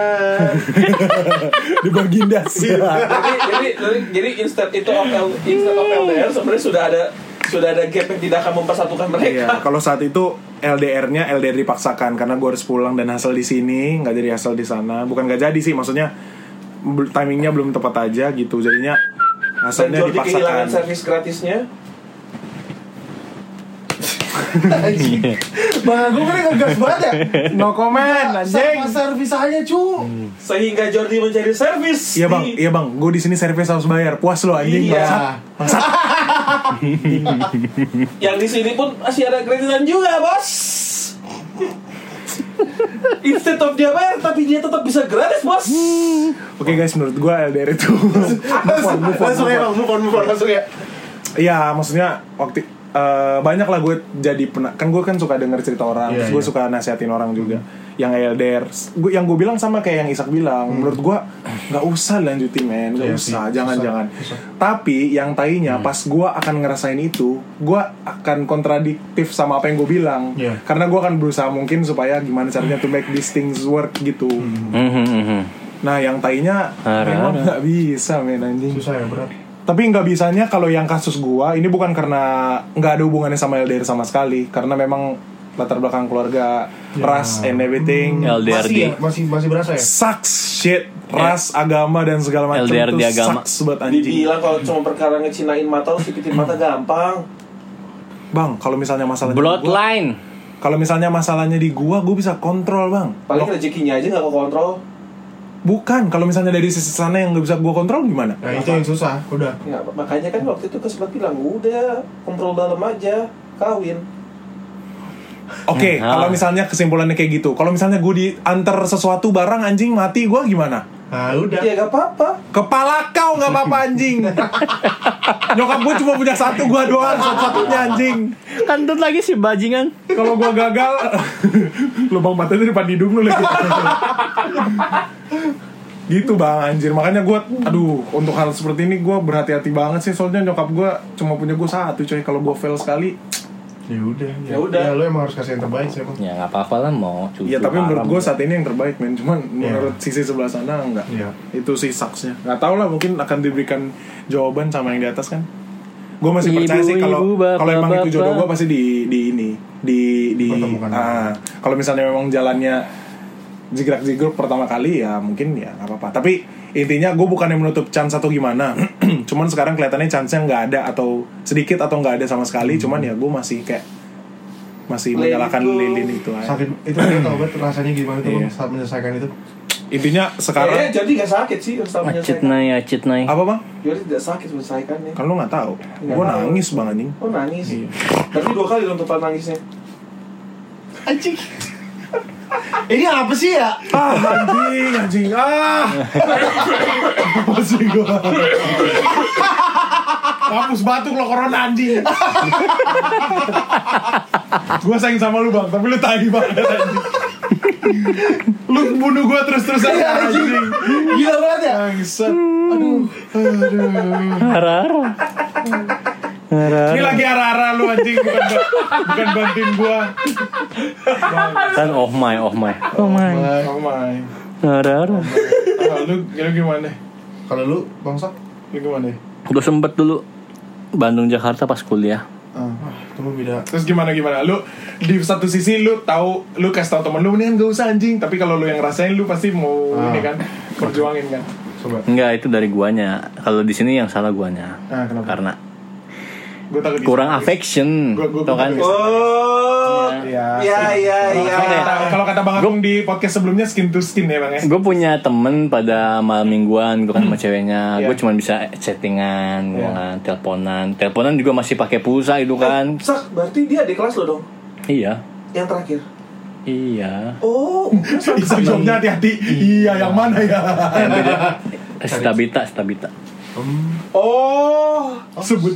D: di Bagindas
A: jadi, jadi, jadi, jadi instead itu of L, instead of LDR sebenarnya sudah ada sudah ada gap yang tidak akan mempersatukan mereka.
D: Iya, kalau saat itu LDR-nya LDR dipaksakan karena gue harus pulang dan hasil di sini nggak jadi hasil di sana. Bukan nggak jadi sih, maksudnya bel- timingnya belum tepat aja gitu. Jadinya
A: Dan
D: hasilnya
A: Jordi kehilangan
D: dipaksakan.
A: servis gratisnya.
B: Bang Agung kan ngegas banget ya
D: No comment anjing.
B: Sama servis aja cu
A: Sehingga Jordi mencari servis.
D: Iya bang,
A: di-
D: iya bang, gue di sini servis harus bayar. Puas lo
A: Iya.
D: anjing. bangsat. Bangsat.
A: Yang di sini pun masih ada kreditan juga, bos. Instead of dia bayar, tapi dia tetap bisa gratis, bos.
D: Oke guys, menurut gue LDR itu move on, move on,
E: Langsung
D: move
E: ya
D: on.
E: bang, move on, move on, langsung ya
D: Iya, maksudnya waktu eh, banyak lah gue jadi pernah kan gue kan suka denger cerita orang,
E: Iya,
D: terus gue
E: iya. Hmm.
D: suka nasihatin orang juga yang LDR. Gue yang gue bilang sama kayak yang Isak bilang, menurut gue nggak usah lanjutin men, nggak
E: Hmm. Iya sih, Hmm.
D: usah, jangan-jangan. Tapi yang tainya pas gue akan ngerasain itu, gue akan kontradiktif sama apa yang gue bilang,
E: Iya.
D: karena gue akan berusaha mungkin supaya gimana caranya to make these things work gitu.
E: Hmm.
C: Mhm, Hmm.
D: Nah yang tainya
C: Arah,
D: memang nggak bisa men anjing.
E: Susah ya, berat
D: Tapi nggak bisanya kalau yang kasus gua ini bukan karena nggak ada hubungannya sama LDR sama sekali, karena memang latar belakang keluarga,
C: Ya.
D: ras and everything,
C: LDR
E: Masih
C: di
E: ya, masih, masih berasa ya?
D: sucks shit, ras,
C: Ya.
D: agama dan segala macam
C: LDR di agama.
D: sucks buat anjing.
A: Dibilang kalau cuma perkara ngecinain mata, lu sipitin mata gampang.
D: Bang, kalau misalnya masalahnya di gua,
C: bloodline.
D: kalau misalnya masalahnya di gua, gua bisa kontrol bang.
A: Paling rezekinya aja nggak kau kontrol.
D: Bukan, kalau misalnya dari sisi sana yang nggak bisa gua kontrol gimana?
E: Nah itu yang susah, udah
A: Ya, makanya kan waktu itu kesempat bilang, udah kontrol dalam aja, kawin.
D: Oke,
C: Hmm,
D: kalau
C: ah.
D: misalnya kesimpulannya kayak gitu, kalau misalnya gua diantar sesuatu barang anjing mati gua gimana?
E: Nah udah
A: Ya gak apa-apa.
D: Kepala kau nggak apa-apa anjing. Nyokap gue cuma punya satu, gue doang satu-satunya anjing.
C: Kantut lagi si bajingan.
D: Kalau gue gagal, lubang matanya di depan hidung lu lagi. gitu bang anjir makanya gue aduh untuk hal seperti ini gue berhati-hati banget sih soalnya nyokap gue cuma punya gue satu coy kalau gue fail sekali
E: Ya udah
A: Ya udah.
E: Ya lu emang harus kasih yang terbaik sih emang
C: Ya nggak apa-apa lah mau. cucu
D: ya tapi menurut
C: haram.
D: gue saat ini yang terbaik men cuman
E: Iya.
D: menurut sisi sebelah sana enggak
E: Iya.
D: itu sih saksnya nggak tau lah mungkin akan diberikan jawaban sama yang di atas kan gue masih
C: Ibu,
D: percaya sih
C: ibu,
D: kalau
C: bapak,
D: kalau emang itu jodoh
C: bapak.
D: gue pasti di di ini di di
E: Pertemukan.
D: ah, kalau misalnya memang jalannya jigrak jigruk pertama kali ya mungkin ya nggak apa-apa tapi intinya gue bukannya menutup chance atau gimana cuman sekarang kelihatannya chance nya nggak ada atau sedikit atau nggak ada sama sekali
E: Hmm.
D: cuman ya gue masih kayak
A: Let
D: masih
A: it
D: menyalakan
A: go.
D: lilin itu aja.
E: Sakit, itu lu tau banget rasanya gimana tuh
D: Iya.
E: Bang, saat menyelesaikan itu
D: intinya
A: Eh,
D: sekarang
A: jadi gak sakit sih, harus tahu
C: Acit
A: menyelesaikan.
C: nai, acit nai.
D: apa bang
A: Jordi tidak sakit menyelesaikannya.
D: kalau Kan lu nggak tahu
A: Nggak
D: gue
A: tahu.
D: nangis bang anjing
A: ya. Oh nangis. Berarti dua kali dong tempat nangisnya.
E: Anjing Ini apa sih ya?
D: ah anjing anjing ah Apa sih gua? Mampus batuk lo corona anjing Gue sayang sama lu bang Tapi lu tadi banget anjing Lu bunuh gue terus-terusan anjing
E: Gila banget ya?
D: Bangsat. Aduh
C: Harara.
D: Ini
C: Harara.
D: lagi arah-arah lu anjing Bukan, ba- bukan bantuin gue
C: Kan oh my, oh my. Oh my.
D: Oh my
C: Harara.
D: Ah, lu, lu gimana?
E: Kalau lu, Bang Sok
D: Lu gimana?
C: Gue sempet dulu Bandung Jakarta pas kuliah.
E: Ah, itu mah beda
D: Terus gimana gimana? Lu di satu sisi lu tahu lu kasih tahu temen lu mendingan gak usah anjing, tapi kalau lu yang rasain lu pasti mau
E: Ah.
D: ini kan perjuangin kan.
E: Coba
C: Enggak, itu dari guanya. Kalau di sini yang salah guanya.
D: Ah, kenapa?
C: Karena
D: Gue takut
C: kurang affection.
D: Gua- gua-
C: Tau
D: gua-
C: kan?
A: Oh.
D: Ya.
A: Ya ya ya.
D: Kalau kata-
E: Iya.
D: Kalau kata Bang Agung di podcast sebelumnya skin to skin ya Bang ya.
C: Gue Eh, punya temen pada malam mingguan, gue kan sama ceweknya, gue cuma bisa chattingan, gue kan, teleponan, teleponan juga masih pakai pulsa itu kan,
A: Sak, Eh, berarti dia di kelas lo dong.
C: iya,
A: Yang terakhir.
C: iya,
A: Oh, mungkin sama.
D: Bisa jawabnya hati-hati. Iya, yang mana ya?
C: stabita, stabita,
A: Oh.
D: Sebut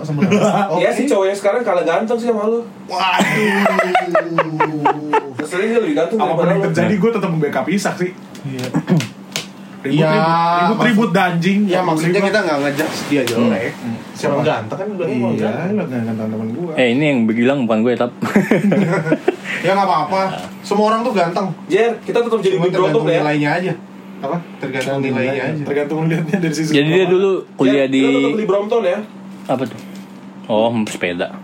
E: Sebentar, sebentar
A: Ya si cowok yang sekarang kalah ganteng sih sama lo.
E: Waduh
A: Keselin dia lebih ganteng
D: Apapun
A: daripada
D: yang
A: lo.
D: terjadi gue tetap membackup Isak sih.
E: Iya
D: Ribut-ribut,
E: Ya,
D: ribut-ribut dan anjing.
E: Ya
F: Iya,
E: maksudnya
D: Ribut-ribut.
E: kita nggak ngejudge dia
A: Hmm.
E: jelek Siapa ganteng kan udah ngomong
D: Iya,
E: ganteng.
D: lu kan teman gue.
C: eh ini yang bilang bukan gue tap,
E: Ya nggak apa-apa Semua orang tuh ganteng
A: Jer, kita tetap jadi
E: Cuma
A: big brother
E: tergantung
A: ya.
E: nilainya aja Apa? Tergantung
B: Iya,
E: nilainya aja
D: Iya, Tergantung liatnya dari sisi
C: jadi Iya, dia dulu kuliah
A: Jer, Kita tetap
C: di
A: di Brompton ya.
C: apa tuh, oh sepeda,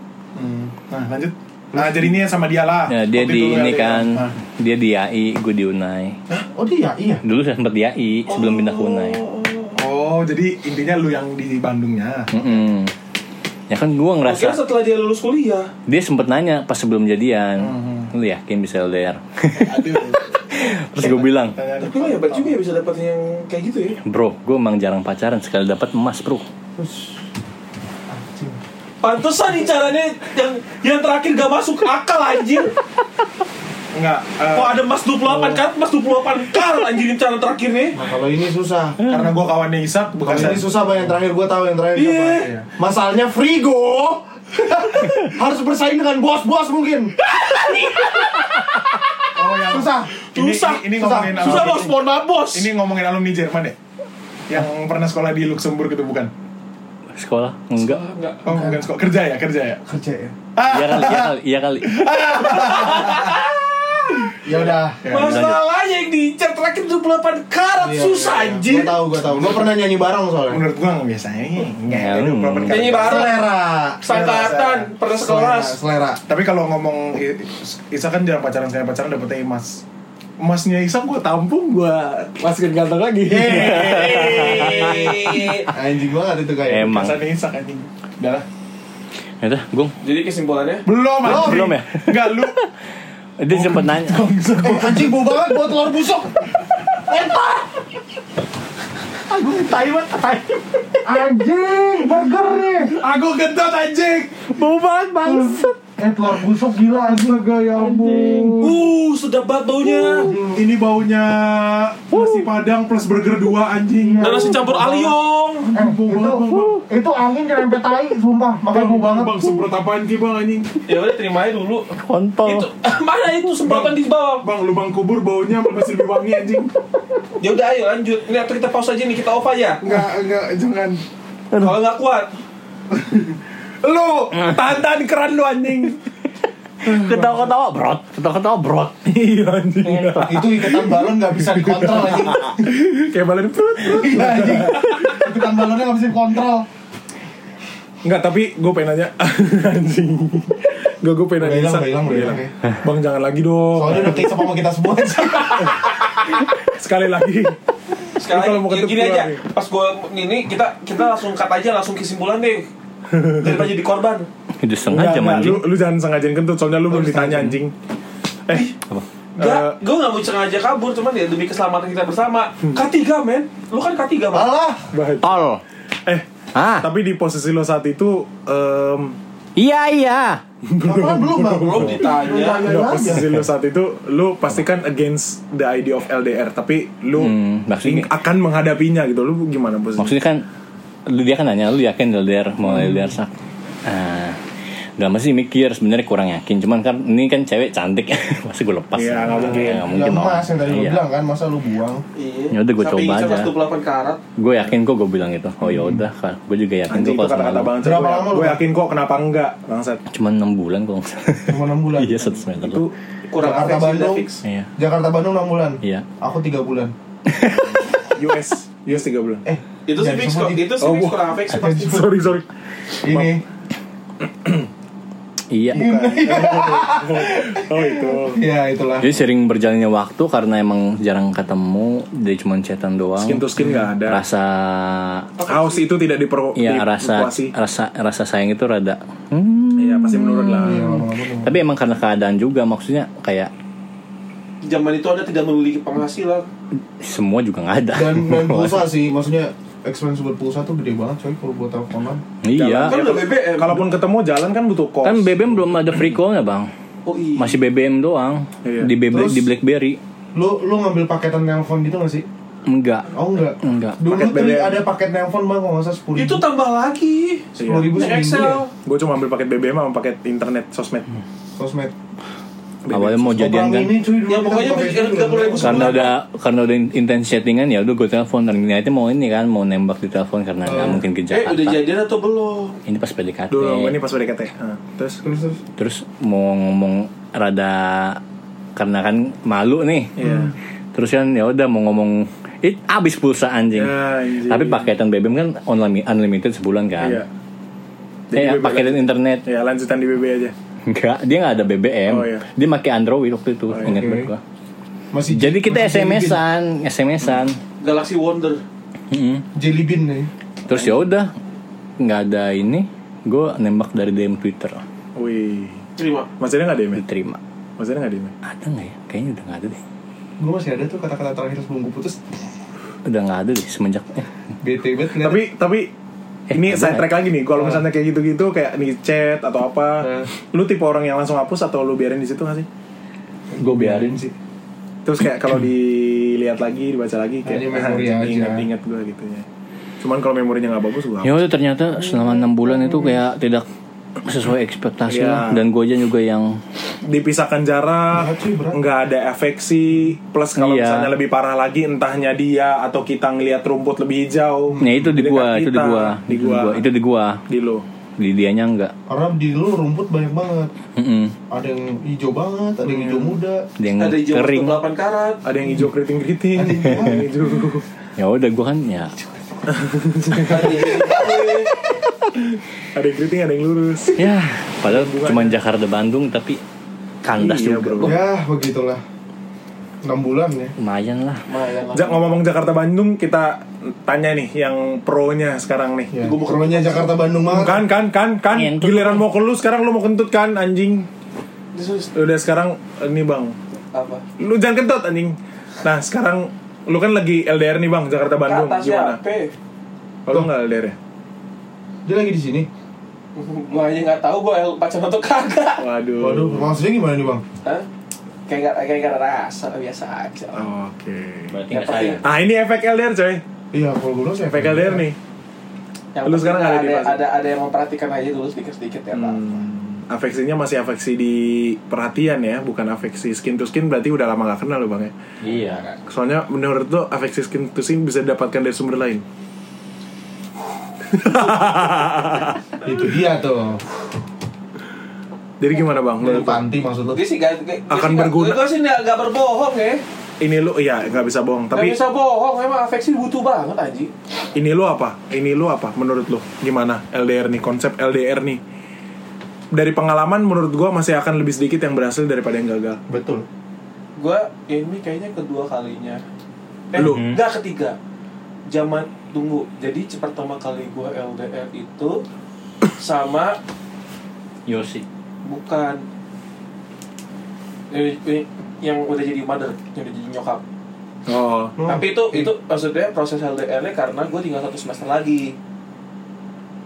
D: Nah, lanjut. Nah, jadinya sama dia lah.
C: Nah, dia
D: Waktu
C: di
D: itu
C: ini
D: LDR.
C: kan,
D: Nah.
C: dia di AI, gue di Unai,
E: Hah? Oh dia iya
C: dulu saya sempet di AI sebelum pindah ke Unai, Hmm.
D: Oh, jadi intinya lu yang di Bandungnya.
C: Mm-mm. ya kan gue
A: Akhirnya
C: ngerasa
A: setelah dia lulus kuliah
C: dia sempet nanya pas sebelum jadian lu yakin bisa LDR
D: Mhm. Aduh.
C: terus gue bilang
A: Tapi lo hebat juga ya bisa dapat yang kayak gitu ya
C: bro gue emang jarang pacaran sekali dapat emas bro
A: Pantesan nih caranya yang yang terakhir gak masuk akal anjir
D: Enggak. eh,
A: Kok ada mas 28 kan? Mas 28 kar anjir ini cara terakhirnya
F: Nah, kalau ini susah.
D: karena gue kawannya Isak
F: Kalau
D: bekas
F: ini susah bang yang terakhir gue tahu yang terakhir
A: Iya.
F: siapa.
D: ya.
F: Masalahnya Frigo harus bersaing dengan bos-bos mungkin.
D: Oh, yang
F: Susah.
D: Ini,
A: Susah.
D: ini, ini ngomongin
A: Susah
D: alumni- ya?
A: bos, mohon maaf bos
D: Ini ngomongin alumni Jerman deh. Yang pernah sekolah di Luxembourg itu bukan?
C: sekolah enggak
A: Enggak
D: Oh, bukan sekolah kerja ya, kerja ya.
F: Kerja ya.
C: iya kali iya kali iya kali
F: Ya udah.
A: Masalahnya yang diincar terakhir 28 karat
E: Iya,
A: susah anjir
F: Gue Iya. tahu, gue tahu. Gue pernah nyanyi bareng soalnya.
D: Menurut gua nggak biasanya ini. Nggak,
C: Hmm.
D: itu proper
A: Nyanyi
D: character.
A: bareng.
F: Selera.
A: Sangkatan, pernah
F: Selera.
A: sekelas
F: Selera.
D: Tapi kalau ngomong I- Isa kan jarang pacaran, saya pacaran dapetnya emas. Emasnya Isa gua tampung, gua masukin kantong lagi.
A: Yeay.
F: Anjing banget itu ya. kayak.
A: Eh,
C: emang
D: Kesannya Isa kan ini. Udah lah.
C: udah gung
A: Jadi kesimpulannya
D: Belum, anjing.
C: belum ya?
D: Enggak, lu.
C: dia sempet nanya
F: Eh, anjing bau banget buat telur busuk.
G: Anjing, burger nih.
D: Aku gendut anjing.
G: Eh, telur busuk gila astaga ya ampun.
A: Uh sedap banget baunya
D: Ini baunya nasi padang plus burger dua anjing.
A: Dan nasi campur aliong
G: Iya. Eh, itu, itu angin yang nyampe tai, sumpah. Makanya
D: Bang,
G: gue banget.
D: Bang, semprot apaan ki bang anjing?
A: Ya udah terima aja dulu
C: kontol
A: Itu mana itu semprotan di bawah
D: Bang, lubang kubur baunya masih lebih wangi anjing.
A: Ya udah ayo lanjut Ini atau kita pause aja nih kita off aja
D: Enggak, enggak, jangan.
A: Kalau nggak kuat
D: Lu, tahan-tahan keran lu anjing.
C: ketawa ketawa brot ketawa ketawa brot iya anjing
F: itu ikatan balon nggak bisa dikontrol anjing.
D: Kayak balon perut.
F: Iya, anjing. Ikatan balonnya nggak bisa dikontrol.
D: Enggak, tapi gue pengen nanya anjing. Enggak, gue pengen
F: Udah
D: nanya.
F: hilang,
D: Isak.
F: udah hilang, udah
A: iya.
F: hilang.
D: Bang, jangan lagi dong.
F: Soalnya udah kayak sama kita semua.
D: Sekali lagi.
A: Sekarang
D: Ini kalau mau
A: gini,
D: ketemu
A: gini aja,
D: keluar
A: pas gue ini kita kita langsung cut aja langsung kesimpulan deh. Daripada jadi korban.
C: itu
D: Enggak,
C: sengaja
D: enggak,
C: manjing
D: lu, lu jangan sengajain kentut, soalnya lu belum ditanya anjing. Eh,
A: Enggak, gue gak mau sengaja kabur, cuman ya demi keselamatan kita bersama.
D: Hmm.
A: K3 men, lu kan K3 bang.
F: Alah,
D: bahan.
C: tol
D: Eh,
C: ah
D: tapi di posisi lo saat itu em
C: iya iya
F: apaan belum bang?
A: Belum ditanya.
D: Enggak, posisi lu saat itu lu pasti kan against the idea of LDR tapi lu
C: Hmm, maksudnya-
D: ing- akan menghadapinya gitu lu gimana posisi
C: maksudnya kan lu dia kan nanya lu yakin LDR mau
D: Hmm.
C: LDR sak ah udah masih mikir sebenarnya kurang yakin cuman kan ini kan cewek cantik masa gue lepas
D: Iya, nggak mungkin.
C: Ya, nggak
F: Ya
C: mungkin
F: emas yang tadi lu
C: Iya.
F: bilang kan, masa lu buang?
A: Iya.
C: Ya udah, gua
A: Sampai
C: coba
A: Ica
C: aja.
A: pas 28 karat.
C: gue yakin kok gue bilang itu oh ya udah gue juga yakin
D: Hmm.
C: kok
D: Anjing itu
C: kalau sama
D: kata-kata
C: lu.
D: banget
F: Berapa
D: Gue-
F: lama lu,
D: gue
F: Bang?
D: yakin kok kenapa enggak bangsat
C: cuman enam bulan kok nggak salah.
F: Cuma 6 bulan.
C: iya satu semester
D: itu
A: Kurang
F: Jakarta,
A: afeksi, udah
F: Bandung.
A: fix.
C: iya
F: Jakarta Bandung 6 bulan.
C: iya
F: Aku 3 bulan.
D: US US 3 bulan
F: Eh,
A: Itu sih
F: jangan
A: fix
F: disebut
A: kok,
F: di-
A: itu sih
D: Oh,
A: fix
D: gua-
A: kurang afeksi pasti.
D: sorry sorry
F: ini
C: iya
D: oh itu
F: ya itulah
C: jadi sering berjalannya waktu karena emang jarang ketemu dia cuman chatan doang
D: skin to skin nggak ada
C: rasa
D: house itu tidak dipro
C: Iya rasa
D: dipuasi.
C: rasa rasa sayang itu rada hmm.
D: iya pasti menurun lah
C: tapi emang karena keadaan juga maksudnya kayak
A: Zaman itu ada tidak memiliki penghasilan.
C: semua juga nggak ada
F: dan dan pulsa sih maksudnya expense buat pulsa tuh gede banget coy kalau buat teleponan
C: iya
A: Kan udah BBM.
D: kalaupun ketemu jalan kan butuh kos
C: kan BBM belum ada free call-nya bang
A: oh iya.
C: masih BBM doang
D: Iya.
C: di BB,
F: Terus-
C: di BlackBerry
F: lu lu ngambil paketan nelpon gitu gak sih
C: enggak
F: oh enggak
C: enggak
F: dulu
D: Paket
F: tuh
D: BBM.
F: ada paket nelpon bang kalau nggak salah sepuluh
A: Itu tambah lagi.
F: sepuluh ribu
A: Naik
F: seminggu ya
A: Excel.
D: gue cuma ambil paket BBM sama paket internet sosmed
F: sosmed
C: awalnya mau jadian kan
F: ini cuy dulu
A: Ya,
F: kita
A: pokoknya
F: pakai
A: bikin
F: itu
A: tiga puluh
F: dulu.
A: ribu
C: karena udah karena udah intens chattingan ya udah gue telepon dan niatnya mau ini kan mau nembak di telepon karena nggak mungkin
D: ya?
C: ke
A: Eh, udah
C: Jakarta
A: jadian atau belum?
C: ini pas PDKT
D: dulu ini pas PDKT Ah, terus
F: terus terus
C: terus mau ngomong rada karena kan malu nih
D: Iya.
C: terus kan ya udah mau ngomong it abis pulsa anjing
D: Ya, anjing.
C: tapi paketan BBM kan online unlimited sebulan kan
D: iya
C: eh
D: Jadi BBM.
C: paketan internet
D: ya lanjutan di BB aja
C: enggak dia nggak ada BBM
D: Oh, iya.
C: dia pakai Android waktu itu
D: iya.
C: ingat
F: Oke.
C: banget gua
F: masih
C: jadi kita
F: masih
C: SMS-an SMS-an
A: Galaxy Wonder.
C: Mm-mm.
F: jelly bean nih
C: terus ya udah nggak ada ini gue nembak dari DM Twitter
D: Wih.
A: Terima.
D: Maksudnya nggak DM? ya?
C: diterima
D: Maksudnya nggak DM? ya?
C: ada nggak ya kayaknya udah nggak ada deh
E: Gue masih ada tuh kata-kata terakhir sebelum gue putus
C: udah nggak ada deh semenjak eh,
E: Bete banget ngeliat.
D: Tapi tapi
C: Eh,
D: ini
C: ada
D: saya
C: nggak?
D: track lagi nih. Kalau misalnya kayak gitu-gitu kayak nih chat atau apa, lu tipe orang yang langsung hapus atau lu biarin di situ nggak sih?
C: gue biarin sih
D: Terus kayak kalau dilihat lagi, dibaca lagi
E: Hanya
D: kayak
E: memori
D: "Ah,
E: aja."
D: inget-inget gue gitu ya. Cuman kalau memorinya nggak bagus gue
C: ya udah ternyata selama enam bulan itu kayak tidak sesuai ekspektasi lah.
D: Iya.
C: dan gue aja juga yang
D: dipisahkan jarak, nggak ada afeksi, plus kalau
C: Iya.
D: misalnya lebih parah lagi entahnya dia atau kita ngelihat rumput lebih hijau.
C: ya itu di
D: dekat
C: gua itu di
D: kita.
C: gua
D: di
C: itu di
D: gua,
C: gua itu di gua
D: di lo.
C: di dianya enggak
E: Karena di lu rumput banyak banget
C: Mm-mm.
E: Ada yang hijau banget, ada
C: Hmm.
E: yang hijau muda
C: dia yang
A: Ada hijau
C: kering
A: 8 karat.
D: Ada yang hijau keriting keriting, ada yang hijau.
C: ya udah gua kan ya
D: ada yang keriting, ada yang lurus.
C: ya padahal cuma Jakarta Bandung tapi kandas
D: Iya,
C: juga
D: bro.
C: Gua-
E: Ya begitulah 6 bulan ya
C: lumayan lah
D: Jak ngomong-ngomong Jakarta Bandung kita tanya nih yang pro-nya sekarang nih.
E: Ya, gue kerennya Jakarta Bandung banget
D: Kan kan kan kan
C: Ngentut.
D: giliran mau ke lu sekarang lu mau kentut kan anjing.
A: Terus
D: Udah sekarang ini Bang.
A: apa?
D: Lu jangan kentut anjing. Nah, sekarang lu kan lagi LDR nih Bang Jakarta Bandung
A: Kata
D: gimana?
A: siapa?
D: Oh, lu enggak LDR ya?
E: Dia lagi di sini
A: Gua aja nggak tahu gua el- pacaran atau kagak.
D: Waduh.
E: Waduh, maksudnya gimana nih bang?
A: Hah? Kayak nggak kayak nggak ada rasa biasa aja.
D: Oh. Oke.
C: berarti
A: Yang
C: nggak
A: penting-
C: sayang
D: Ah, ini efek LDR coy.
E: Iya, kalau gue bilang sih
D: Efek LDR nih.
A: yang
D: Lu
A: penting
D: sekarang ada di
A: ada,
D: fase-
A: ada ada yang memperhatikan aja dulu sedikit sedikit ya pak.
D: Hmm, afeksinya masih afeksi di perhatian ya, bukan afeksi skin to skin berarti udah lama gak kenal lu Bang ya.
C: iya
D: Soalnya menurut lo afeksi skin to skin bisa didapatkan dari sumber lain.
E: Itu dia tuh
D: Jadi gimana bang?
E: Dari
D: Menurut lo?
E: panti maksud lu
A: Gue sih gak, gue- gue
D: Akan
A: sih nggak-
D: berguna.
A: Gue sih nggak nggak berbohong ya.
D: Ini lo ya nggak bisa bohong.
A: Tapi
D: Tapi
A: bisa bohong, memang afeksi butuh banget anjing.
D: ini lo apa? Ini lo apa? Menurut lo gimana LDR nih? Konsep LDR nih? Dari pengalaman menurut gua masih akan lebih sedikit yang berhasil daripada yang gagal.
E: Betul
A: Gue ini kayaknya kedua kalinya. Eh,
D: Lu?
A: Enggak ketiga. Zaman tunggu. Jadi pertama kali gue LDR itu sama
C: Yosi
A: bukan ini, ini yang udah jadi mother, yang udah jadi nyokap.
D: Oh,
A: Tapi itu itu maksudnya proses LDR-nya karena gue tinggal satu semester lagi.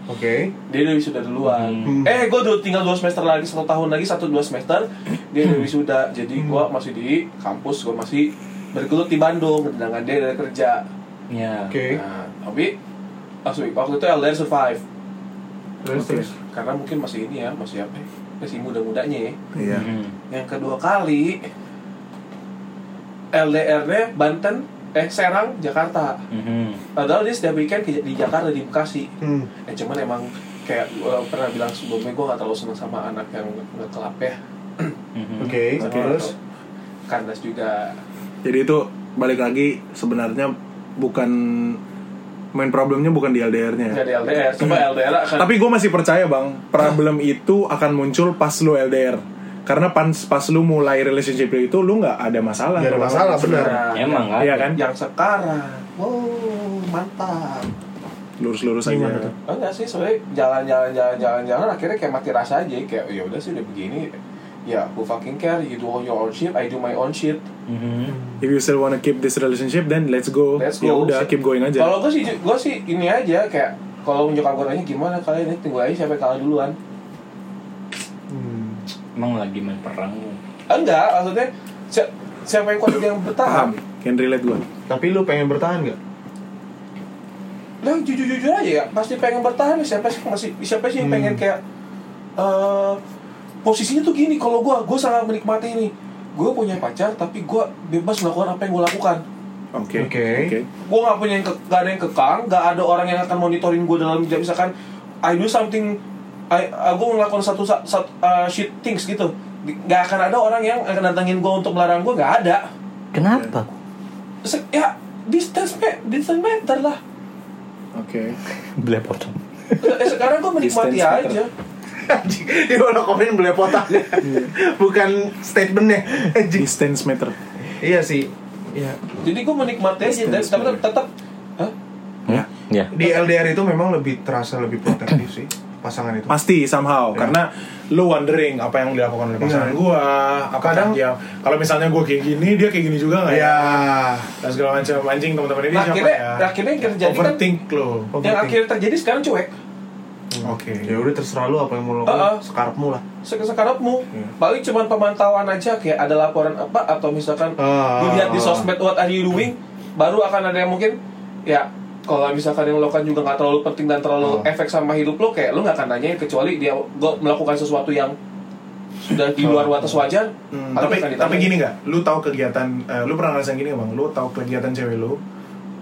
E: Oke
A: dia udah wisuda duluan eh gue udah tinggal dua semester lagi satu tahun lagi satu dua semester dia udah wisuda jadi gua masih di kampus gue masih bergelut di Bandung sedangkan dia udah kerja
C: ya
E: Oke
A: nah, tapi maksudnya waktu itu LDR survive
E: Terus terus
A: karena mungkin masih ini ya masih apa ya, masih muda mudanya ya
D: iya.
A: yang kedua kali LDR-nya Banten eh Serang Jakarta padahal dia setiap weekend ke- di Jakarta di Bekasi
E: Hmm.
A: ya cuman emang kayak gua pernah bilang sebelumnya gue gak terlalu seneng sama anak yang ngekelap ya
E: Oke,
A: Sama
E: terus
A: atau kandas juga
D: Jadi itu balik lagi sebenarnya bukan main problemnya bukan di
E: Ya.
D: LDR-nya.
A: nggak ada LDR coba
E: Hmm.
A: LDR akan
D: Tapi gue masih percaya bang, problem itu akan muncul pas lu LDR. Karena pas pas lu mulai relationship lu itu lu nggak ada masalah.
E: Gak ada masalah, benar
A: Nah,
C: emang kan
D: Iya kan?
A: yang sekarang wow mantap
D: Lurus-lurus aja.
A: Oh, enggak sih sebenarnya jalan-jalan jalan-jalan jalan akhirnya kayak mati rasa aja kayak ya udah sih udah begini ya who fucking care you do your own shit I do my own shit
D: If you still wanna keep this relationship, then let's go.
A: Let's
D: Ya
A: go.
D: udah, keep going aja.
A: Kalau gue sih, gue sih ini aja kayak kalau nyokap gue nanya gimana kalian ini tunggu aja siapa yang kalah duluan.
C: emang lagi main perang
A: Ah, Enggak, maksudnya si- siapa yang kuat yang bertahan.
D: Paham? Can relate gue.
E: Tapi lu pengen bertahan gak?
A: Lah jujur jujur aja ya, pasti pengen bertahan siapa sih masih siapa sih yang pengen kayak eh posisinya tuh gini kalau gue gue sangat menikmati ini gue punya pacar tapi gue bebas melakukan apa yang gue lakukan
D: Oke.
E: Oke.
A: gue nggak punya yang ke, nggak ada yang kekang nggak ada orang yang akan monitoring gue dalam jam misalkan I do something I, gue melakukan satu, satu uh, shit things gitu Di- nggak akan ada orang yang akan datangin gue untuk melarang gue nggak ada
C: kenapa
A: Se- ya distance me, distance matter lah
D: Oke.
C: belepotan
A: Eh, sekarang gue menikmati
D: Distance matter.
A: aja
E: Anjing, Dia orang komen belepotan Bukan statementnya Anjing
D: Distance meter.
E: Iya sih Iya
A: jadi gue menikmati aja dan
D: Distance
A: tapi
D: matter.
A: tetap Hah?
C: ya
E: Di LDR itu memang lebih terasa lebih protektif sih pasangan itu
D: pasti somehow karena lu wondering apa yang dilakukan oleh pasangan gua apa
E: Kadang-
D: kadang dia kalau misalnya gua kayak gini dia kayak gini juga
F: Iya.
D: nggak
E: ya
D: ya dan segala macam anjing teman-teman ini
A: Nah,
D: siapa
A: akhirnya,
D: ya
A: akhirnya yang terjadi kan
D: overthink lo oke
A: yang akhirnya terjadi sekarang cuek
E: Oh, gitu. ya udah terserah lu apa yang mau lo
A: Ah, ah.
E: lakukan sekarapmu lah
A: Sek- sekarangmu
D: Hmm.
A: paling cuman pemantauan aja kayak ada laporan apa atau misalkan
E: Ah.
A: dilihat di sosmed what are you doing baru akan ada yang mungkin ya kalau misalkan yang lo lakukan juga nggak terlalu penting dan terlalu
D: Hmm.
A: efek sama hidup lo kayak lo nggak akan nanyain kecuali dia go- melakukan sesuatu yang sudah di luar batas wajar
D: Hmm,
A: paling
D: tapi
A: akan
D: tapi
A: ditanyain.
D: gini nggak lu tahu kegiatan eh, lu pernah ngerasain gini nggak bang lu tahu kegiatan cewek lu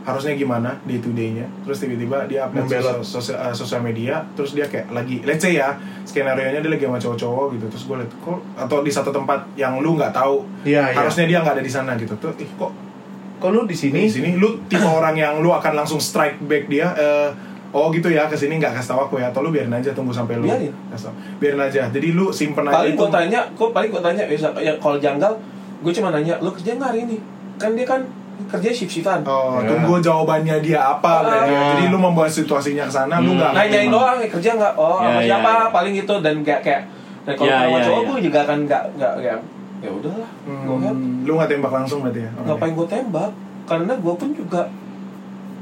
D: harusnya gimana day to day nya terus tiba-tiba dia upload
E: Membelot.
D: sosial, sosial, eh, sosial media terus dia kayak lagi let's say ya skenario nya dia lagi sama cowok-cowok gitu terus gue liat kok atau di satu tempat yang lu nggak tahu
E: Iya, iya.
D: harusnya dia nggak ada di sana gitu tuh ih kok
E: kok lu di
D: di
E: sini
D: sini lu tipe orang yang lu akan langsung strike back dia eh, oh gitu ya kesini nggak kasih tahu aku ya atau lu biarin aja tunggu sampai lu
A: Biarin.
D: kasih tahu. biarin aja jadi lu simpen aja
A: paling
D: Nah, itu.
A: gue tanya gue paling gue tanya bisa ya kalau janggal gue cuma nanya lo kerja nggak hari ini kan dia kan kerja shift shiftan
D: Oh,
C: Ya.
D: tunggu jawabannya dia apa berarti.
C: Ah.
D: Jadi lu membawa situasinya ke sana,
C: Hmm.
D: lu nggak
A: nanyain doang ya, kerja nggak oh
C: Ya,
A: sama
C: ya,
A: siapa
C: ya.
A: paling gitu dan kayak kayak dan kalau
C: Ya,
A: sama
C: ya,
A: cowok
C: ya.
A: gue juga kan nggak nggak ya ya udahlah gue kan
D: Hmm, lu nggak tembak langsung berarti ya. orangnya?
A: ngapain gue tembak karena gue pun juga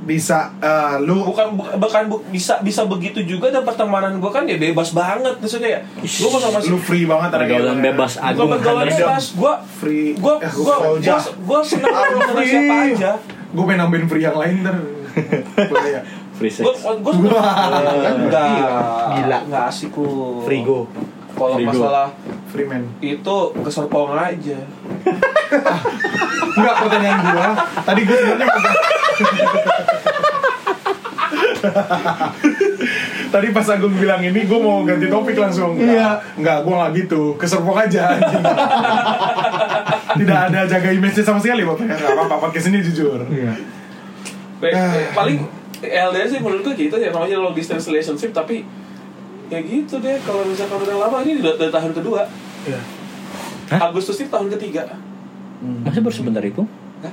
D: Bisa eh, lu
A: bukan bu- bukan bu- bisa bisa begitu juga dan pertemanan gue kan ya bebas banget maksudnya ya gue mau sama si
D: lu free banget ada
C: Pergaulan
D: gitu ya.
C: bebas
A: gue
C: agung
A: bergaul
C: Henderson.
A: bebas gue
D: free.
A: gue
D: Eh,
A: gue
D: gue
A: gue senang ngobrol sama siapa aja
D: Gue pengen nambahin free yang lain ntar. Boleh ya?
C: Free sex.
A: gue gue enggak
E: Gila.
A: enggak Kan asik lu
E: frigo
A: kalau
C: Frigo.
A: masalah
D: free man.
A: itu ke Serpong aja
D: Enggak pertanyaan gua. Tadi gua sebenarnya mau- Tadi pas Agung bilang ini gua mau ganti topik langsung. Iya. Enggak, gua nggak gitu. Keserpok aja. anjing. Tidak ada jaga image sama sekali Bapak. Enggak apa-apa podcast ini jujur.
A: Baik, eh,
E: Ah.
A: paling LDR sih menurut gue gitu ya namanya long distance relationship tapi ya gitu deh kalau misalkan udah lama ini udah, udah tahun kedua
E: Ya.
A: Agustus ini tahun ketiga
C: Masih baru sebentar itu?
A: Hah?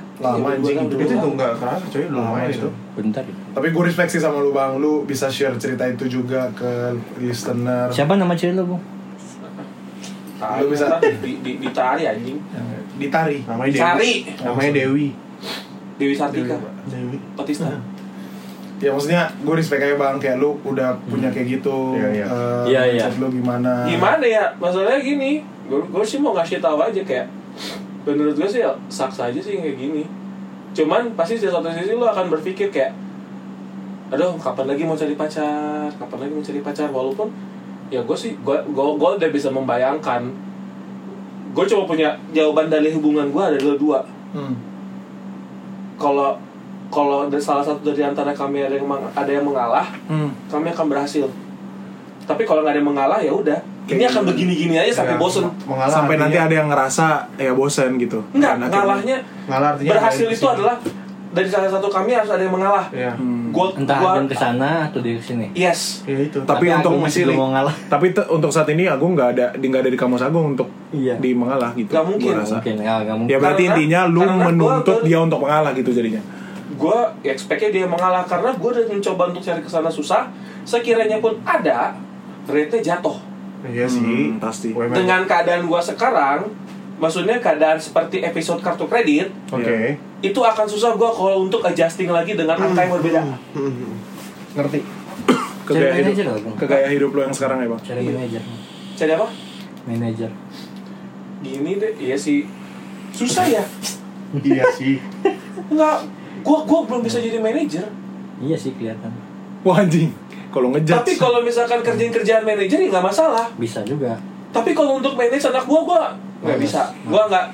A: Iya,
D: Lama, anjing,
A: dua
D: itu-
A: tahun,
E: itu
A: dua
E: tuh
A: tahun.
E: nggak kerasa coy udah
D: Lama
E: lumayan
D: Nah,
E: Nah,
D: itu.
E: itu
C: Bentar ya. itu.
D: Tapi gue respect sih sama lu Bang. Lu bisa share cerita itu juga ke listener.
C: Siapa nama cewek lo, Bung?
A: Tahu,
D: Lu bisa.
A: ntar di, di, di- ditari anjing
D: Ditari.
E: namanya Dewi
A: Sari
E: namanya Dewi
A: Dewi Sartika
E: Dewi
A: Batista
D: Ya maksudnya gue respect aja Bang kayak lu udah punya kayak gitu.
E: Iya, iya.
D: Eh,
C: Iya, iya.
D: mindset lu gimana?
A: gimana ya masalahnya gini gue gue sih mau ngasih tahu aja kayak menurut gue sih ya saksa aja sih kayak gini cuman pasti di satu sisi lo akan berpikir kayak aduh kapan lagi mau cari pacar kapan lagi mau cari pacar walaupun ya gue sih gue gue gue udah bisa membayangkan gue cuma punya jawaban dari hubungan gue ada dua
D: Hmm.
A: kalau kalau ada salah satu dari antara kami ada yang meng- ada yang mengalah
D: Hmm.
A: kami akan berhasil tapi kalau nggak ada yang mengalah ya udah ini akan begini-gini aja sampai
E: Ya,
A: bosen
E: mengalah
D: sampai nanti
E: artinya-
D: ada yang ngerasa ya bosen gitu.
A: Enggak,
D: Dan akhirnya-
A: ngalahnya
E: mengalah artinya
A: berhasil
E: ada di
A: itu
E: sini.
A: adalah dari salah satu kami harus ada yang mengalah.
E: ya
D: Hmm.
A: Gua,
C: Entah
A: gua-
C: ada yang kesana atau di sini.
A: yes.
E: ya itu
D: Tapi untuk
C: Agung masih
D: masih-
C: belum mau ngalah.
D: Tapi te- untuk saat ini Agung nggak ada di nggak ada di kamus Agung untuk
C: Iya.
D: di mengalah gitu.
A: Nggak mungkin.
D: gua rasa.
C: Mungkin ya, nggak mungkin.
D: Ya berarti
A: Karena-
D: intinya lu
A: karena gua-
D: menuntut
A: gua-
D: dia untuk mengalah gitu jadinya.
A: Gue ya, expect-nya dia mengalah karena gue udah mencoba untuk cari kesana susah. Sekiranya pun ada, ternyata jatuh.
E: ya sih
D: Hmm, pasti.
E: Gue emang-
A: Dengan keadaan gue sekarang, maksudnya keadaan seperti episode kartu kredit,
E: oke
D: Iya.
A: itu akan susah gue kalau untuk adjusting lagi dengan angka yang berbeda.
E: Hmm.
D: Ngerti. ke
C: Cari
D: gaya
C: manajer
D: hidup,
C: lah, Bang.
D: ke gaya hidup lo yang sekarang ya bang.
C: Cari
A: Iya.
C: manajer.
A: Jadi apa?
C: Manajer.
A: Gini deh, iya sih. Susah ya?
E: iya sih
A: Enggak, gue gua belum bisa jadi manajer.
C: Iya sih kelihatan.
D: Wah anjing. Kalau ngejat.
A: Tapi kalau misalkan kerjain kerjaan manajer ya nggak masalah.
C: Bisa juga.
A: tapi kalau untuk manage anak gua gua nggak bisa gua nggak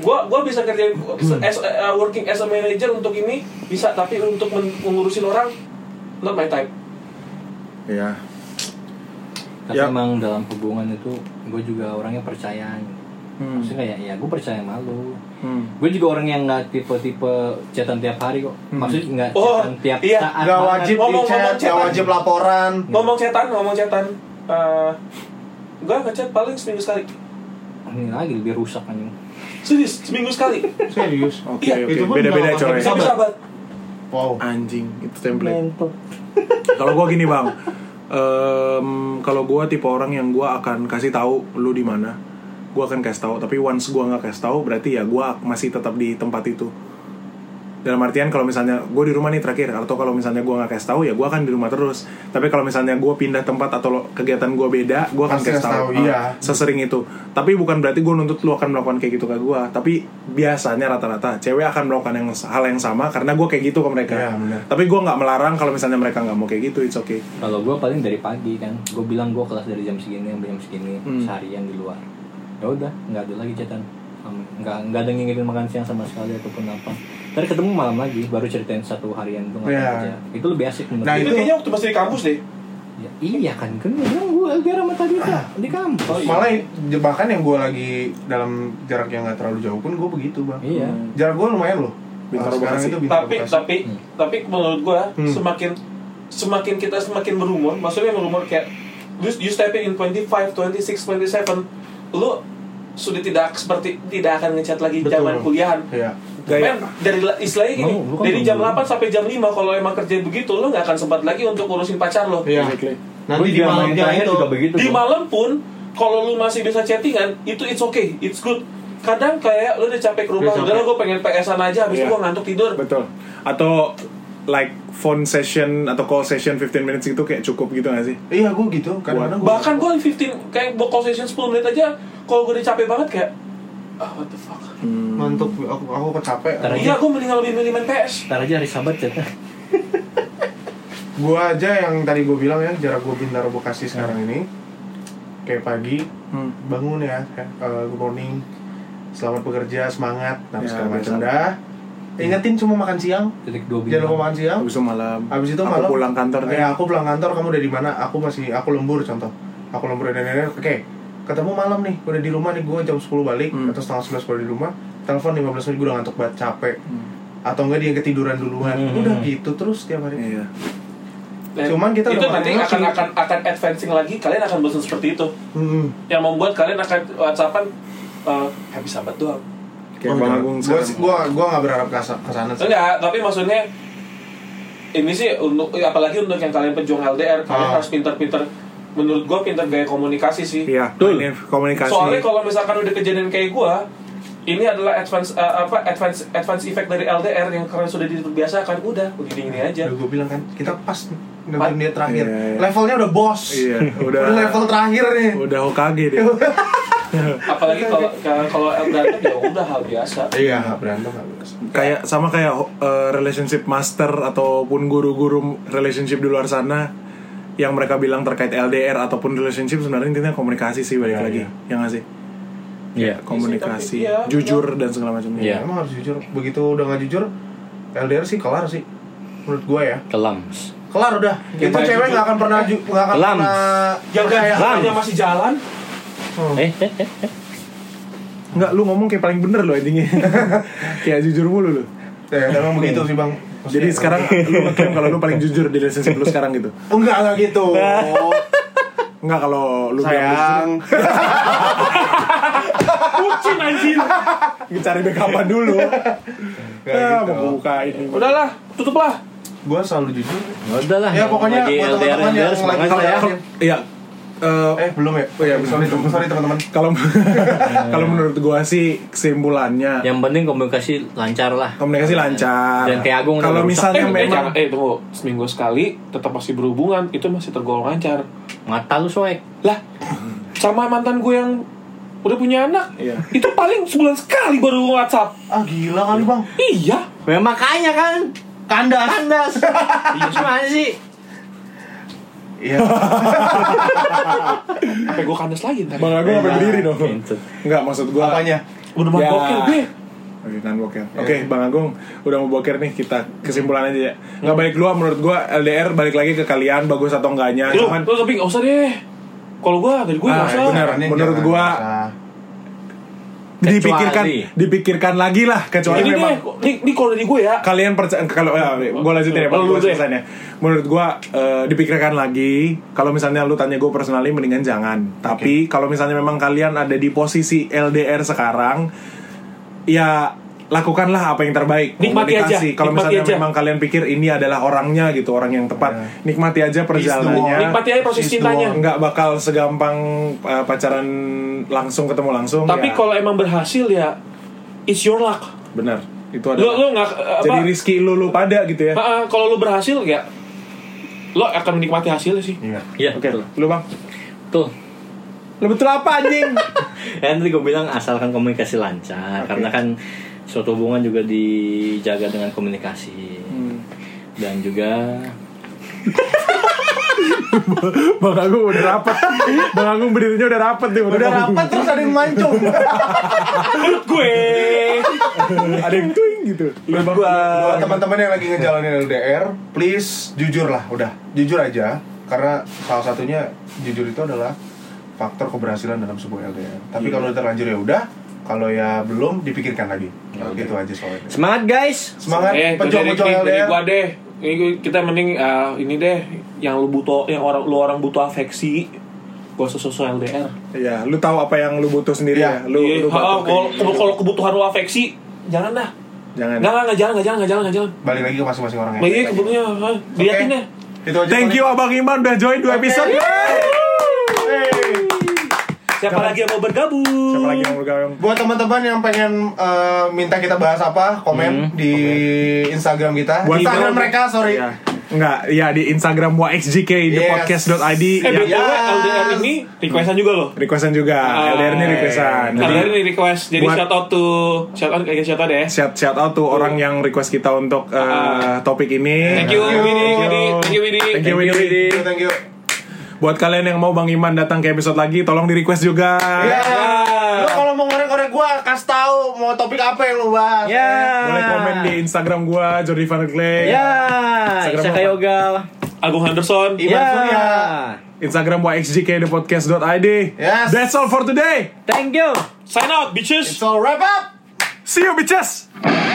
A: gua gua bisa kerja
E: Hmm.
A: as, eh, working as a manager untuk ini bisa tapi untuk men- mengurusin orang not my type
D: Ya.
C: Tapi
D: Ya.
C: emang dalam hubungan itu gue juga orangnya percayaan.
D: Hmm.
C: Maksudnya kayak ya gue percaya sama lo.
D: Hmm.
C: Gue juga orang yang nggak tipe-tipe chatan tiap hari kok. Maksudnya nggak
A: Oh,
C: chatan tiap
A: iya.
C: saat.
E: nggak
C: banget.
E: wajib di
A: Ngomong-ngomong
E: chat nggak
A: chat.
E: wajib laporan
A: ngomong cetan ngomong cetan Eh gua ngechat paling seminggu sekali
C: Ini lagi lebih rusak anjing.
A: serius seminggu sekali
E: serius
D: Oke
A: Iya,
D: oke.
E: itu pun
D: Beda-beda
E: nggak
D: coy.
E: pakai
A: tapi sahabat
E: wow
D: Anjing itu template. Kalau gua gini bang. Em, kalau gua tipe orang yang gua akan kasih tahu lu di mana gua akan kasih tahu tapi once gua nggak kasih tahu berarti ya gua masih tetap di tempat itu dalam artian kalau misalnya gue di rumah nih terakhir atau kalau misalnya gua nggak kasih tahu ya gua akan di rumah terus tapi kalau misalnya gua pindah tempat atau lo- kegiatan gua beda gua akan
E: Pasti
D: kasih
E: kasih
D: tahu Ah,
E: tahu, iya.
D: sesering itu tapi bukan berarti gue nuntut lu akan melakukan kayak gitu ke gua tapi biasanya rata-rata cewek akan melakukan yang hal yang sama karena gua kayak gitu ke mereka
E: Iya, benar.
D: tapi gua nggak melarang kalau misalnya mereka nggak mau kayak gitu it's okay
C: Kalau gue paling dari pagi kan, gue bilang gue kelas dari jam segini sampai jam segini
D: Hmm.
C: seharian di luar. Ya udah, nggak ada lagi chatan, Sama- nggak nggak ada ngingetin makan siang sama sekali ataupun apa. Ntar ketemu malam lagi, baru ceritain satu harian tuh ngapain
E: Iya.
C: aja. Itu lebih asik menurut
E: Nah,
A: itu
C: gue.
E: itu-
A: kayaknya waktu masih di kampus deh
C: Ya, iya kan, kan gue bilang gue biar sama tadi Kak, di kampus.
F: Malah bahkan yang gue lagi dalam jarak yang nggak terlalu jauh pun gue begitu bang.
C: Iya.
F: Jarak gue lumayan loh.
D: Bintaro
F: Sekarang
D: Bekasi.
F: itu Bintaro
A: tapi
F: Bekasi.
A: tapi tapi menurut gua semakin semakin kita semakin berumur maksudnya berumur kayak you, you stepping in 25 26 27 lu sudah tidak seperti tidak akan ngechat lagi
F: Betul.
A: zaman kuliahan
F: Iya.
A: Men, dari la- istilahnya gini,
C: Mau, lu kan
A: dari
C: belum
A: jam
C: dulu.
A: 8 sampai jam 5 kalau emang kerja begitu lu nggak akan sempat lagi untuk ngurusin pacar lo.
F: Iya. Nanti
C: Gua
F: di
C: juga
F: malam
C: main
F: yang
C: terakhir
F: itu.
C: juga begitu.
A: Di
C: gua.
A: malam pun kalau lu masih bisa chattingan, itu it's okay, it's good. Kadang kayak lu udah capek ke rumah,
F: Udah
A: udah lah gue pengen PS-an aja, habis itu
D: Iya.
A: gue ngantuk tidur.
D: betul atau like phone session atau call session 15 minutes itu kayak cukup gitu gak sih
F: Iya gue gitu. Kadang-kadang gua-
A: Bahkan gue 15, kayak gue call session 10 menit aja, kalau gue udah capek banget kayak, ah what the fuck.
F: ngantuk. Aku, aku kecapek.
C: Ntar aja,
A: Iya, gue mendingan lebih milih main PS.
C: ntar aja hari sabat chat.
F: Gue aja yang tadi gue bilang ya jarak gue Bintaro Bekasi sekarang ini kayak pagi bangun ya kayak, eh, good morning selamat bekerja semangat harus
D: Ya,
F: segala macam
D: biasa.
F: dah ingetin cuma makan siang
C: Titik dua
F: jangan lupa
C: bintang.
F: makan siang
D: habis itu malam
F: Habis itu
D: aku
F: malam
D: pulang kantor
F: Ya,
D: nih
F: aku pulang kantor, kamu udah di mana? Aku masih aku lembur contoh. Aku lembur dan lain-lain. Oke. Ketemu malam nih, udah di rumah nih gue jam 10 balik
D: Hmm.
F: atau setengah 11 baru di rumah. Telepon 15 menit gue udah ngantuk banget, capek. Atau enggak dia ketiduran duluan. Udah gitu terus tiap hari.
D: iya
A: Dan
F: Cuman kita
A: itu
F: udah
A: nanti
F: makan
A: akan
F: langsung.
A: akan akan advancing lagi, kalian akan bosan seperti itu.
F: Hmm.
A: Yang membuat kalian akan WhatsAppan eh, habis sahabat doang.
D: kayak
F: Oh,
D: bang
F: jangan.
D: Agung
F: gua,
D: sekarang
F: gua, gua gak berharap ke sana- ke sana sih.
A: Enggak, tapi maksudnya ini sih untuk ya, apalagi untuk yang kalian pejuang LDR, kalian
F: Ah.
A: harus pinter-pinter. Menurut gua pinter gaya komunikasi sih.
D: iya
H: Betul.
D: ini komunikasi
A: Soalnya kalau misalkan udah kejadian kayak gua, ini adalah advance eh, apa advance advance effect dari LDR yang kalian sudah dibiasakan. Udah, begini ini aja.
F: Udah gue bilang kan, kita pas nentuin dia terakhir.
D: Iya, iya.
F: Levelnya udah bos.
D: iya udah
F: Udah level Iya. terakhir nih.
D: udah Hokage dia
A: Apalagi kalau kalau berantem ya udah hal biasa.
F: Iya, nggak berantem nggak biasa.
D: kayak sama kayak uh, relationship master ataupun guru-guru relationship di luar sana yang mereka bilang terkait LDR ataupun relationship sebenarnya intinya komunikasi sih balik
F: Iya,
D: lagi
F: iya.
D: yang ngasih
H: Iya.
D: komunikasi
A: Iya, tapi- iya,
D: jujur dan segala macamnya
H: Iya.
F: Emang harus jujur. Begitu udah nggak jujur, LDR sih kelar sih. Menurut gue ya.
H: Kelams.
F: Kelar udah.
D: Iya,
F: itu
A: nggak
F: cewek
A: jujur.
F: nggak akan pernah ju- nggak akan
H: Lams.
F: pernah.
A: Yang
F: percaya.
A: gaya masih jalan.
H: Eh, eh, eh.
D: Enggak, lu ngomong kayak paling bener lo endingnya Kayak jujur mulu lu
F: Ya, emang begitu sih bang. Maksudnya-
D: Jadi sekarang lu ngeklaim kalau lu paling jujur di relationship lu sekarang gitu
F: Oh, enggak enggak gitu.
D: Enggak kalau lu bilang lu
F: Sayang.
A: Kucing anjing.
D: jujur, Cari backupan dulu
F: Nggak
D: Ya,
F: gitu.
D: mau buka ini
A: Udahlah, tutuplah.
F: Gue selalu jujur.
H: Udah lah.
F: Ya pokoknya
H: lagi
F: buat
H: LDR
F: teman-teman yang
H: LDR
F: lagi
H: semangat lah ya.
F: LDR.
D: Iya eh,
F: Eh belum ya? Oh ya, sorry, tem- sorry teman-teman.
D: kalau kalau menurut gua sih kesimpulannya
H: Yang penting komunikasi lancar lah.
D: komunikasi lancar.
H: Dan kayak Agung udah
D: kalau
H: merusak.
A: Eh,
D: misalnya
A: eh,
D: memang
A: jangan- eh, tunggu seminggu sekali tetap masih berhubungan itu masih tergolong lancar.
H: Mata lu soek.
A: Lah, sama mantan gue yang udah punya anak,
D: Iya.
A: itu paling sebulan sekali baru WhatsApp.
F: Ah gila kali bang.
A: Iya,
H: Ya, makanya kan
F: Kandas.
H: kandas. Gimana sih?
F: Iya.
A: sampai gue kandas lagi ntar.
D: Bang Agung apa berdiri dong?
H: Kentut.
D: Enggak maksud gua.
F: Apanya?
A: Udah mau
D: Ya.
A: bokir gue.
D: Oke, kan boker. Oke, Bang Agung udah mau boker nih kita kesimpulan aja ya. Nggak balik dulu menurut gua LDR balik lagi ke kalian bagus atau enggaknya.
A: Lu,
D: Cuman
A: lu tapi nggak usah deh. Kalau gue dari gue nggak
D: Ah,
A: usah.
H: iya.
D: benar.
F: Makanya
D: Menurut
F: jangan
D: gua-
F: usah.
D: dipikirkan
H: Kecuali.
D: dipikirkan lagi lah kecuali
F: Iya,
A: Ini deh,
D: memang
A: ini, ini kalau dari gue ya.
D: kalian percaya kalau ya, gue lanjutin ya
A: Oh, Lu
D: gue
A: dulu deh.
D: selesainya menurut gue dipikirkan lagi kalau misalnya lu tanya gue personally mendingan jangan tapi kalau misalnya memang kalian ada di posisi LDR sekarang ya lakukanlah apa yang terbaik
A: Nikmati
D: Komunikasi.
A: aja, nikmati
D: kalau misalnya
A: aja. Ya.
D: memang kalian pikir ini adalah orangnya gitu orang yang tepat nikmati aja
F: Iya.
D: perjalanannya
A: Nikmati aja proses
I: She's the
A: cintanya.
I: one.
D: nggak bakal segampang eh, pacaran langsung ketemu langsung
A: Tapi
H: Iya.
D: ya,
A: kalau emang berhasil ya it's your luck.
D: benar itu
A: Lu
D: adalah
A: lu nggak eh, apa?
D: jadi rizki lu lu pada gitu ya
A: Ah, ah, kalau lu berhasil ya lo akan menikmati hasilnya sih.
C: Iya,
D: oke
C: betul.
D: lu bang
C: Tuh.
D: lu betul apa anjing
C: Ya, tadi gue bilang asalkan komunikasi lancar karena kan suatu hubungan juga dijaga dengan komunikasi
D: Hmm.
C: dan juga
D: bang Agung udah rapat bang Agung berdirinya udah rapat nih udah, rapat
I: terus ada yang mancung
A: Menurut gue
D: ada yang tuing gitu lu bang Eh,
F: buat teman-teman yang lagi ngejalanin LDR, please jujur lah, udah jujur aja, karena salah satunya jujur itu adalah faktor keberhasilan dalam sebuah LDR. Tapi kalau udah terlanjur ya udah, kalau ya belum dipikirkan lagi. gitu aja soalnya.
C: semangat guys.
F: Semangat
A: eh dari,
F: pejuang-pejuang
A: dari
F: LDR.
A: gua deh. Ini gua- kita mending ah, ini deh yang lu butuh yang orang lu orang butuh afeksi gua sesuai LDR.
D: ya lu tahu apa yang lu butuh sendiri ya,
F: Iya.
D: lu
A: Iya,
D: lu
A: ah,
D: batuk
A: kalau
D: kayak Nah, gitu.
A: kalau- kalau kebutuhan lu afeksi jangan dah.
D: jangan
A: Enggak enggak jangan enggak jangan enggak jangan enggak jangan.
F: Balik lagi ke masing-masing orang
A: Nah, Iya kebutuhannya ah, diliatin
F: Oke.
A: deh.
F: Itu aja.
D: thank you abang Iman udah join dua episode
A: Siapa lagi yang mau bergabung?
D: siapa lagi yang bergabung
F: Buat teman-teman yang pengen eh, minta kita bahas apa, komen di Instagram kita.
D: Buat
F: Instagram
D: teman-
F: mereka, sorry.
D: ya. Enggak, ya di Instagram YXJK di
F: Yes.
D: podcast.id
A: Eh
D: ya.
A: btw LDR ini requestan juga loh.
D: requestan juga.
A: Ah,
D: LDR ini requestan. Jadi
A: LDR ini request. Jadi
D: Buat-
A: shout out to shout out kayak shout out ya.
D: shout shout out tuh orang yang request kita untuk eh,
A: Ah.
D: topik ini.
A: Thank you Widi, Widi, thank you Widi.
D: Thank you, Widi.
F: Thank you, thank you.
D: Buat kalian yang mau Bang Iman datang ke episode lagi, tolong di request juga.
E: Iya.
F: Ya. Lo kalau mau ngorek-ngorek gua, kasih tahu mau topik apa yang lu bahas.
D: Boleh komen di Instagram gua Jordi Van Glen.
C: Ya,
D: Instagram
C: Saka
D: apa?
C: Yoga.
A: Agung Henderson.
D: Iya.
F: Iman Surya.
D: Instagram YXJK the podcast.id.
F: Yes.
D: That's all for today.
C: Thank you.
A: Sign out bitches.
F: So wrap up.
D: See you bitches.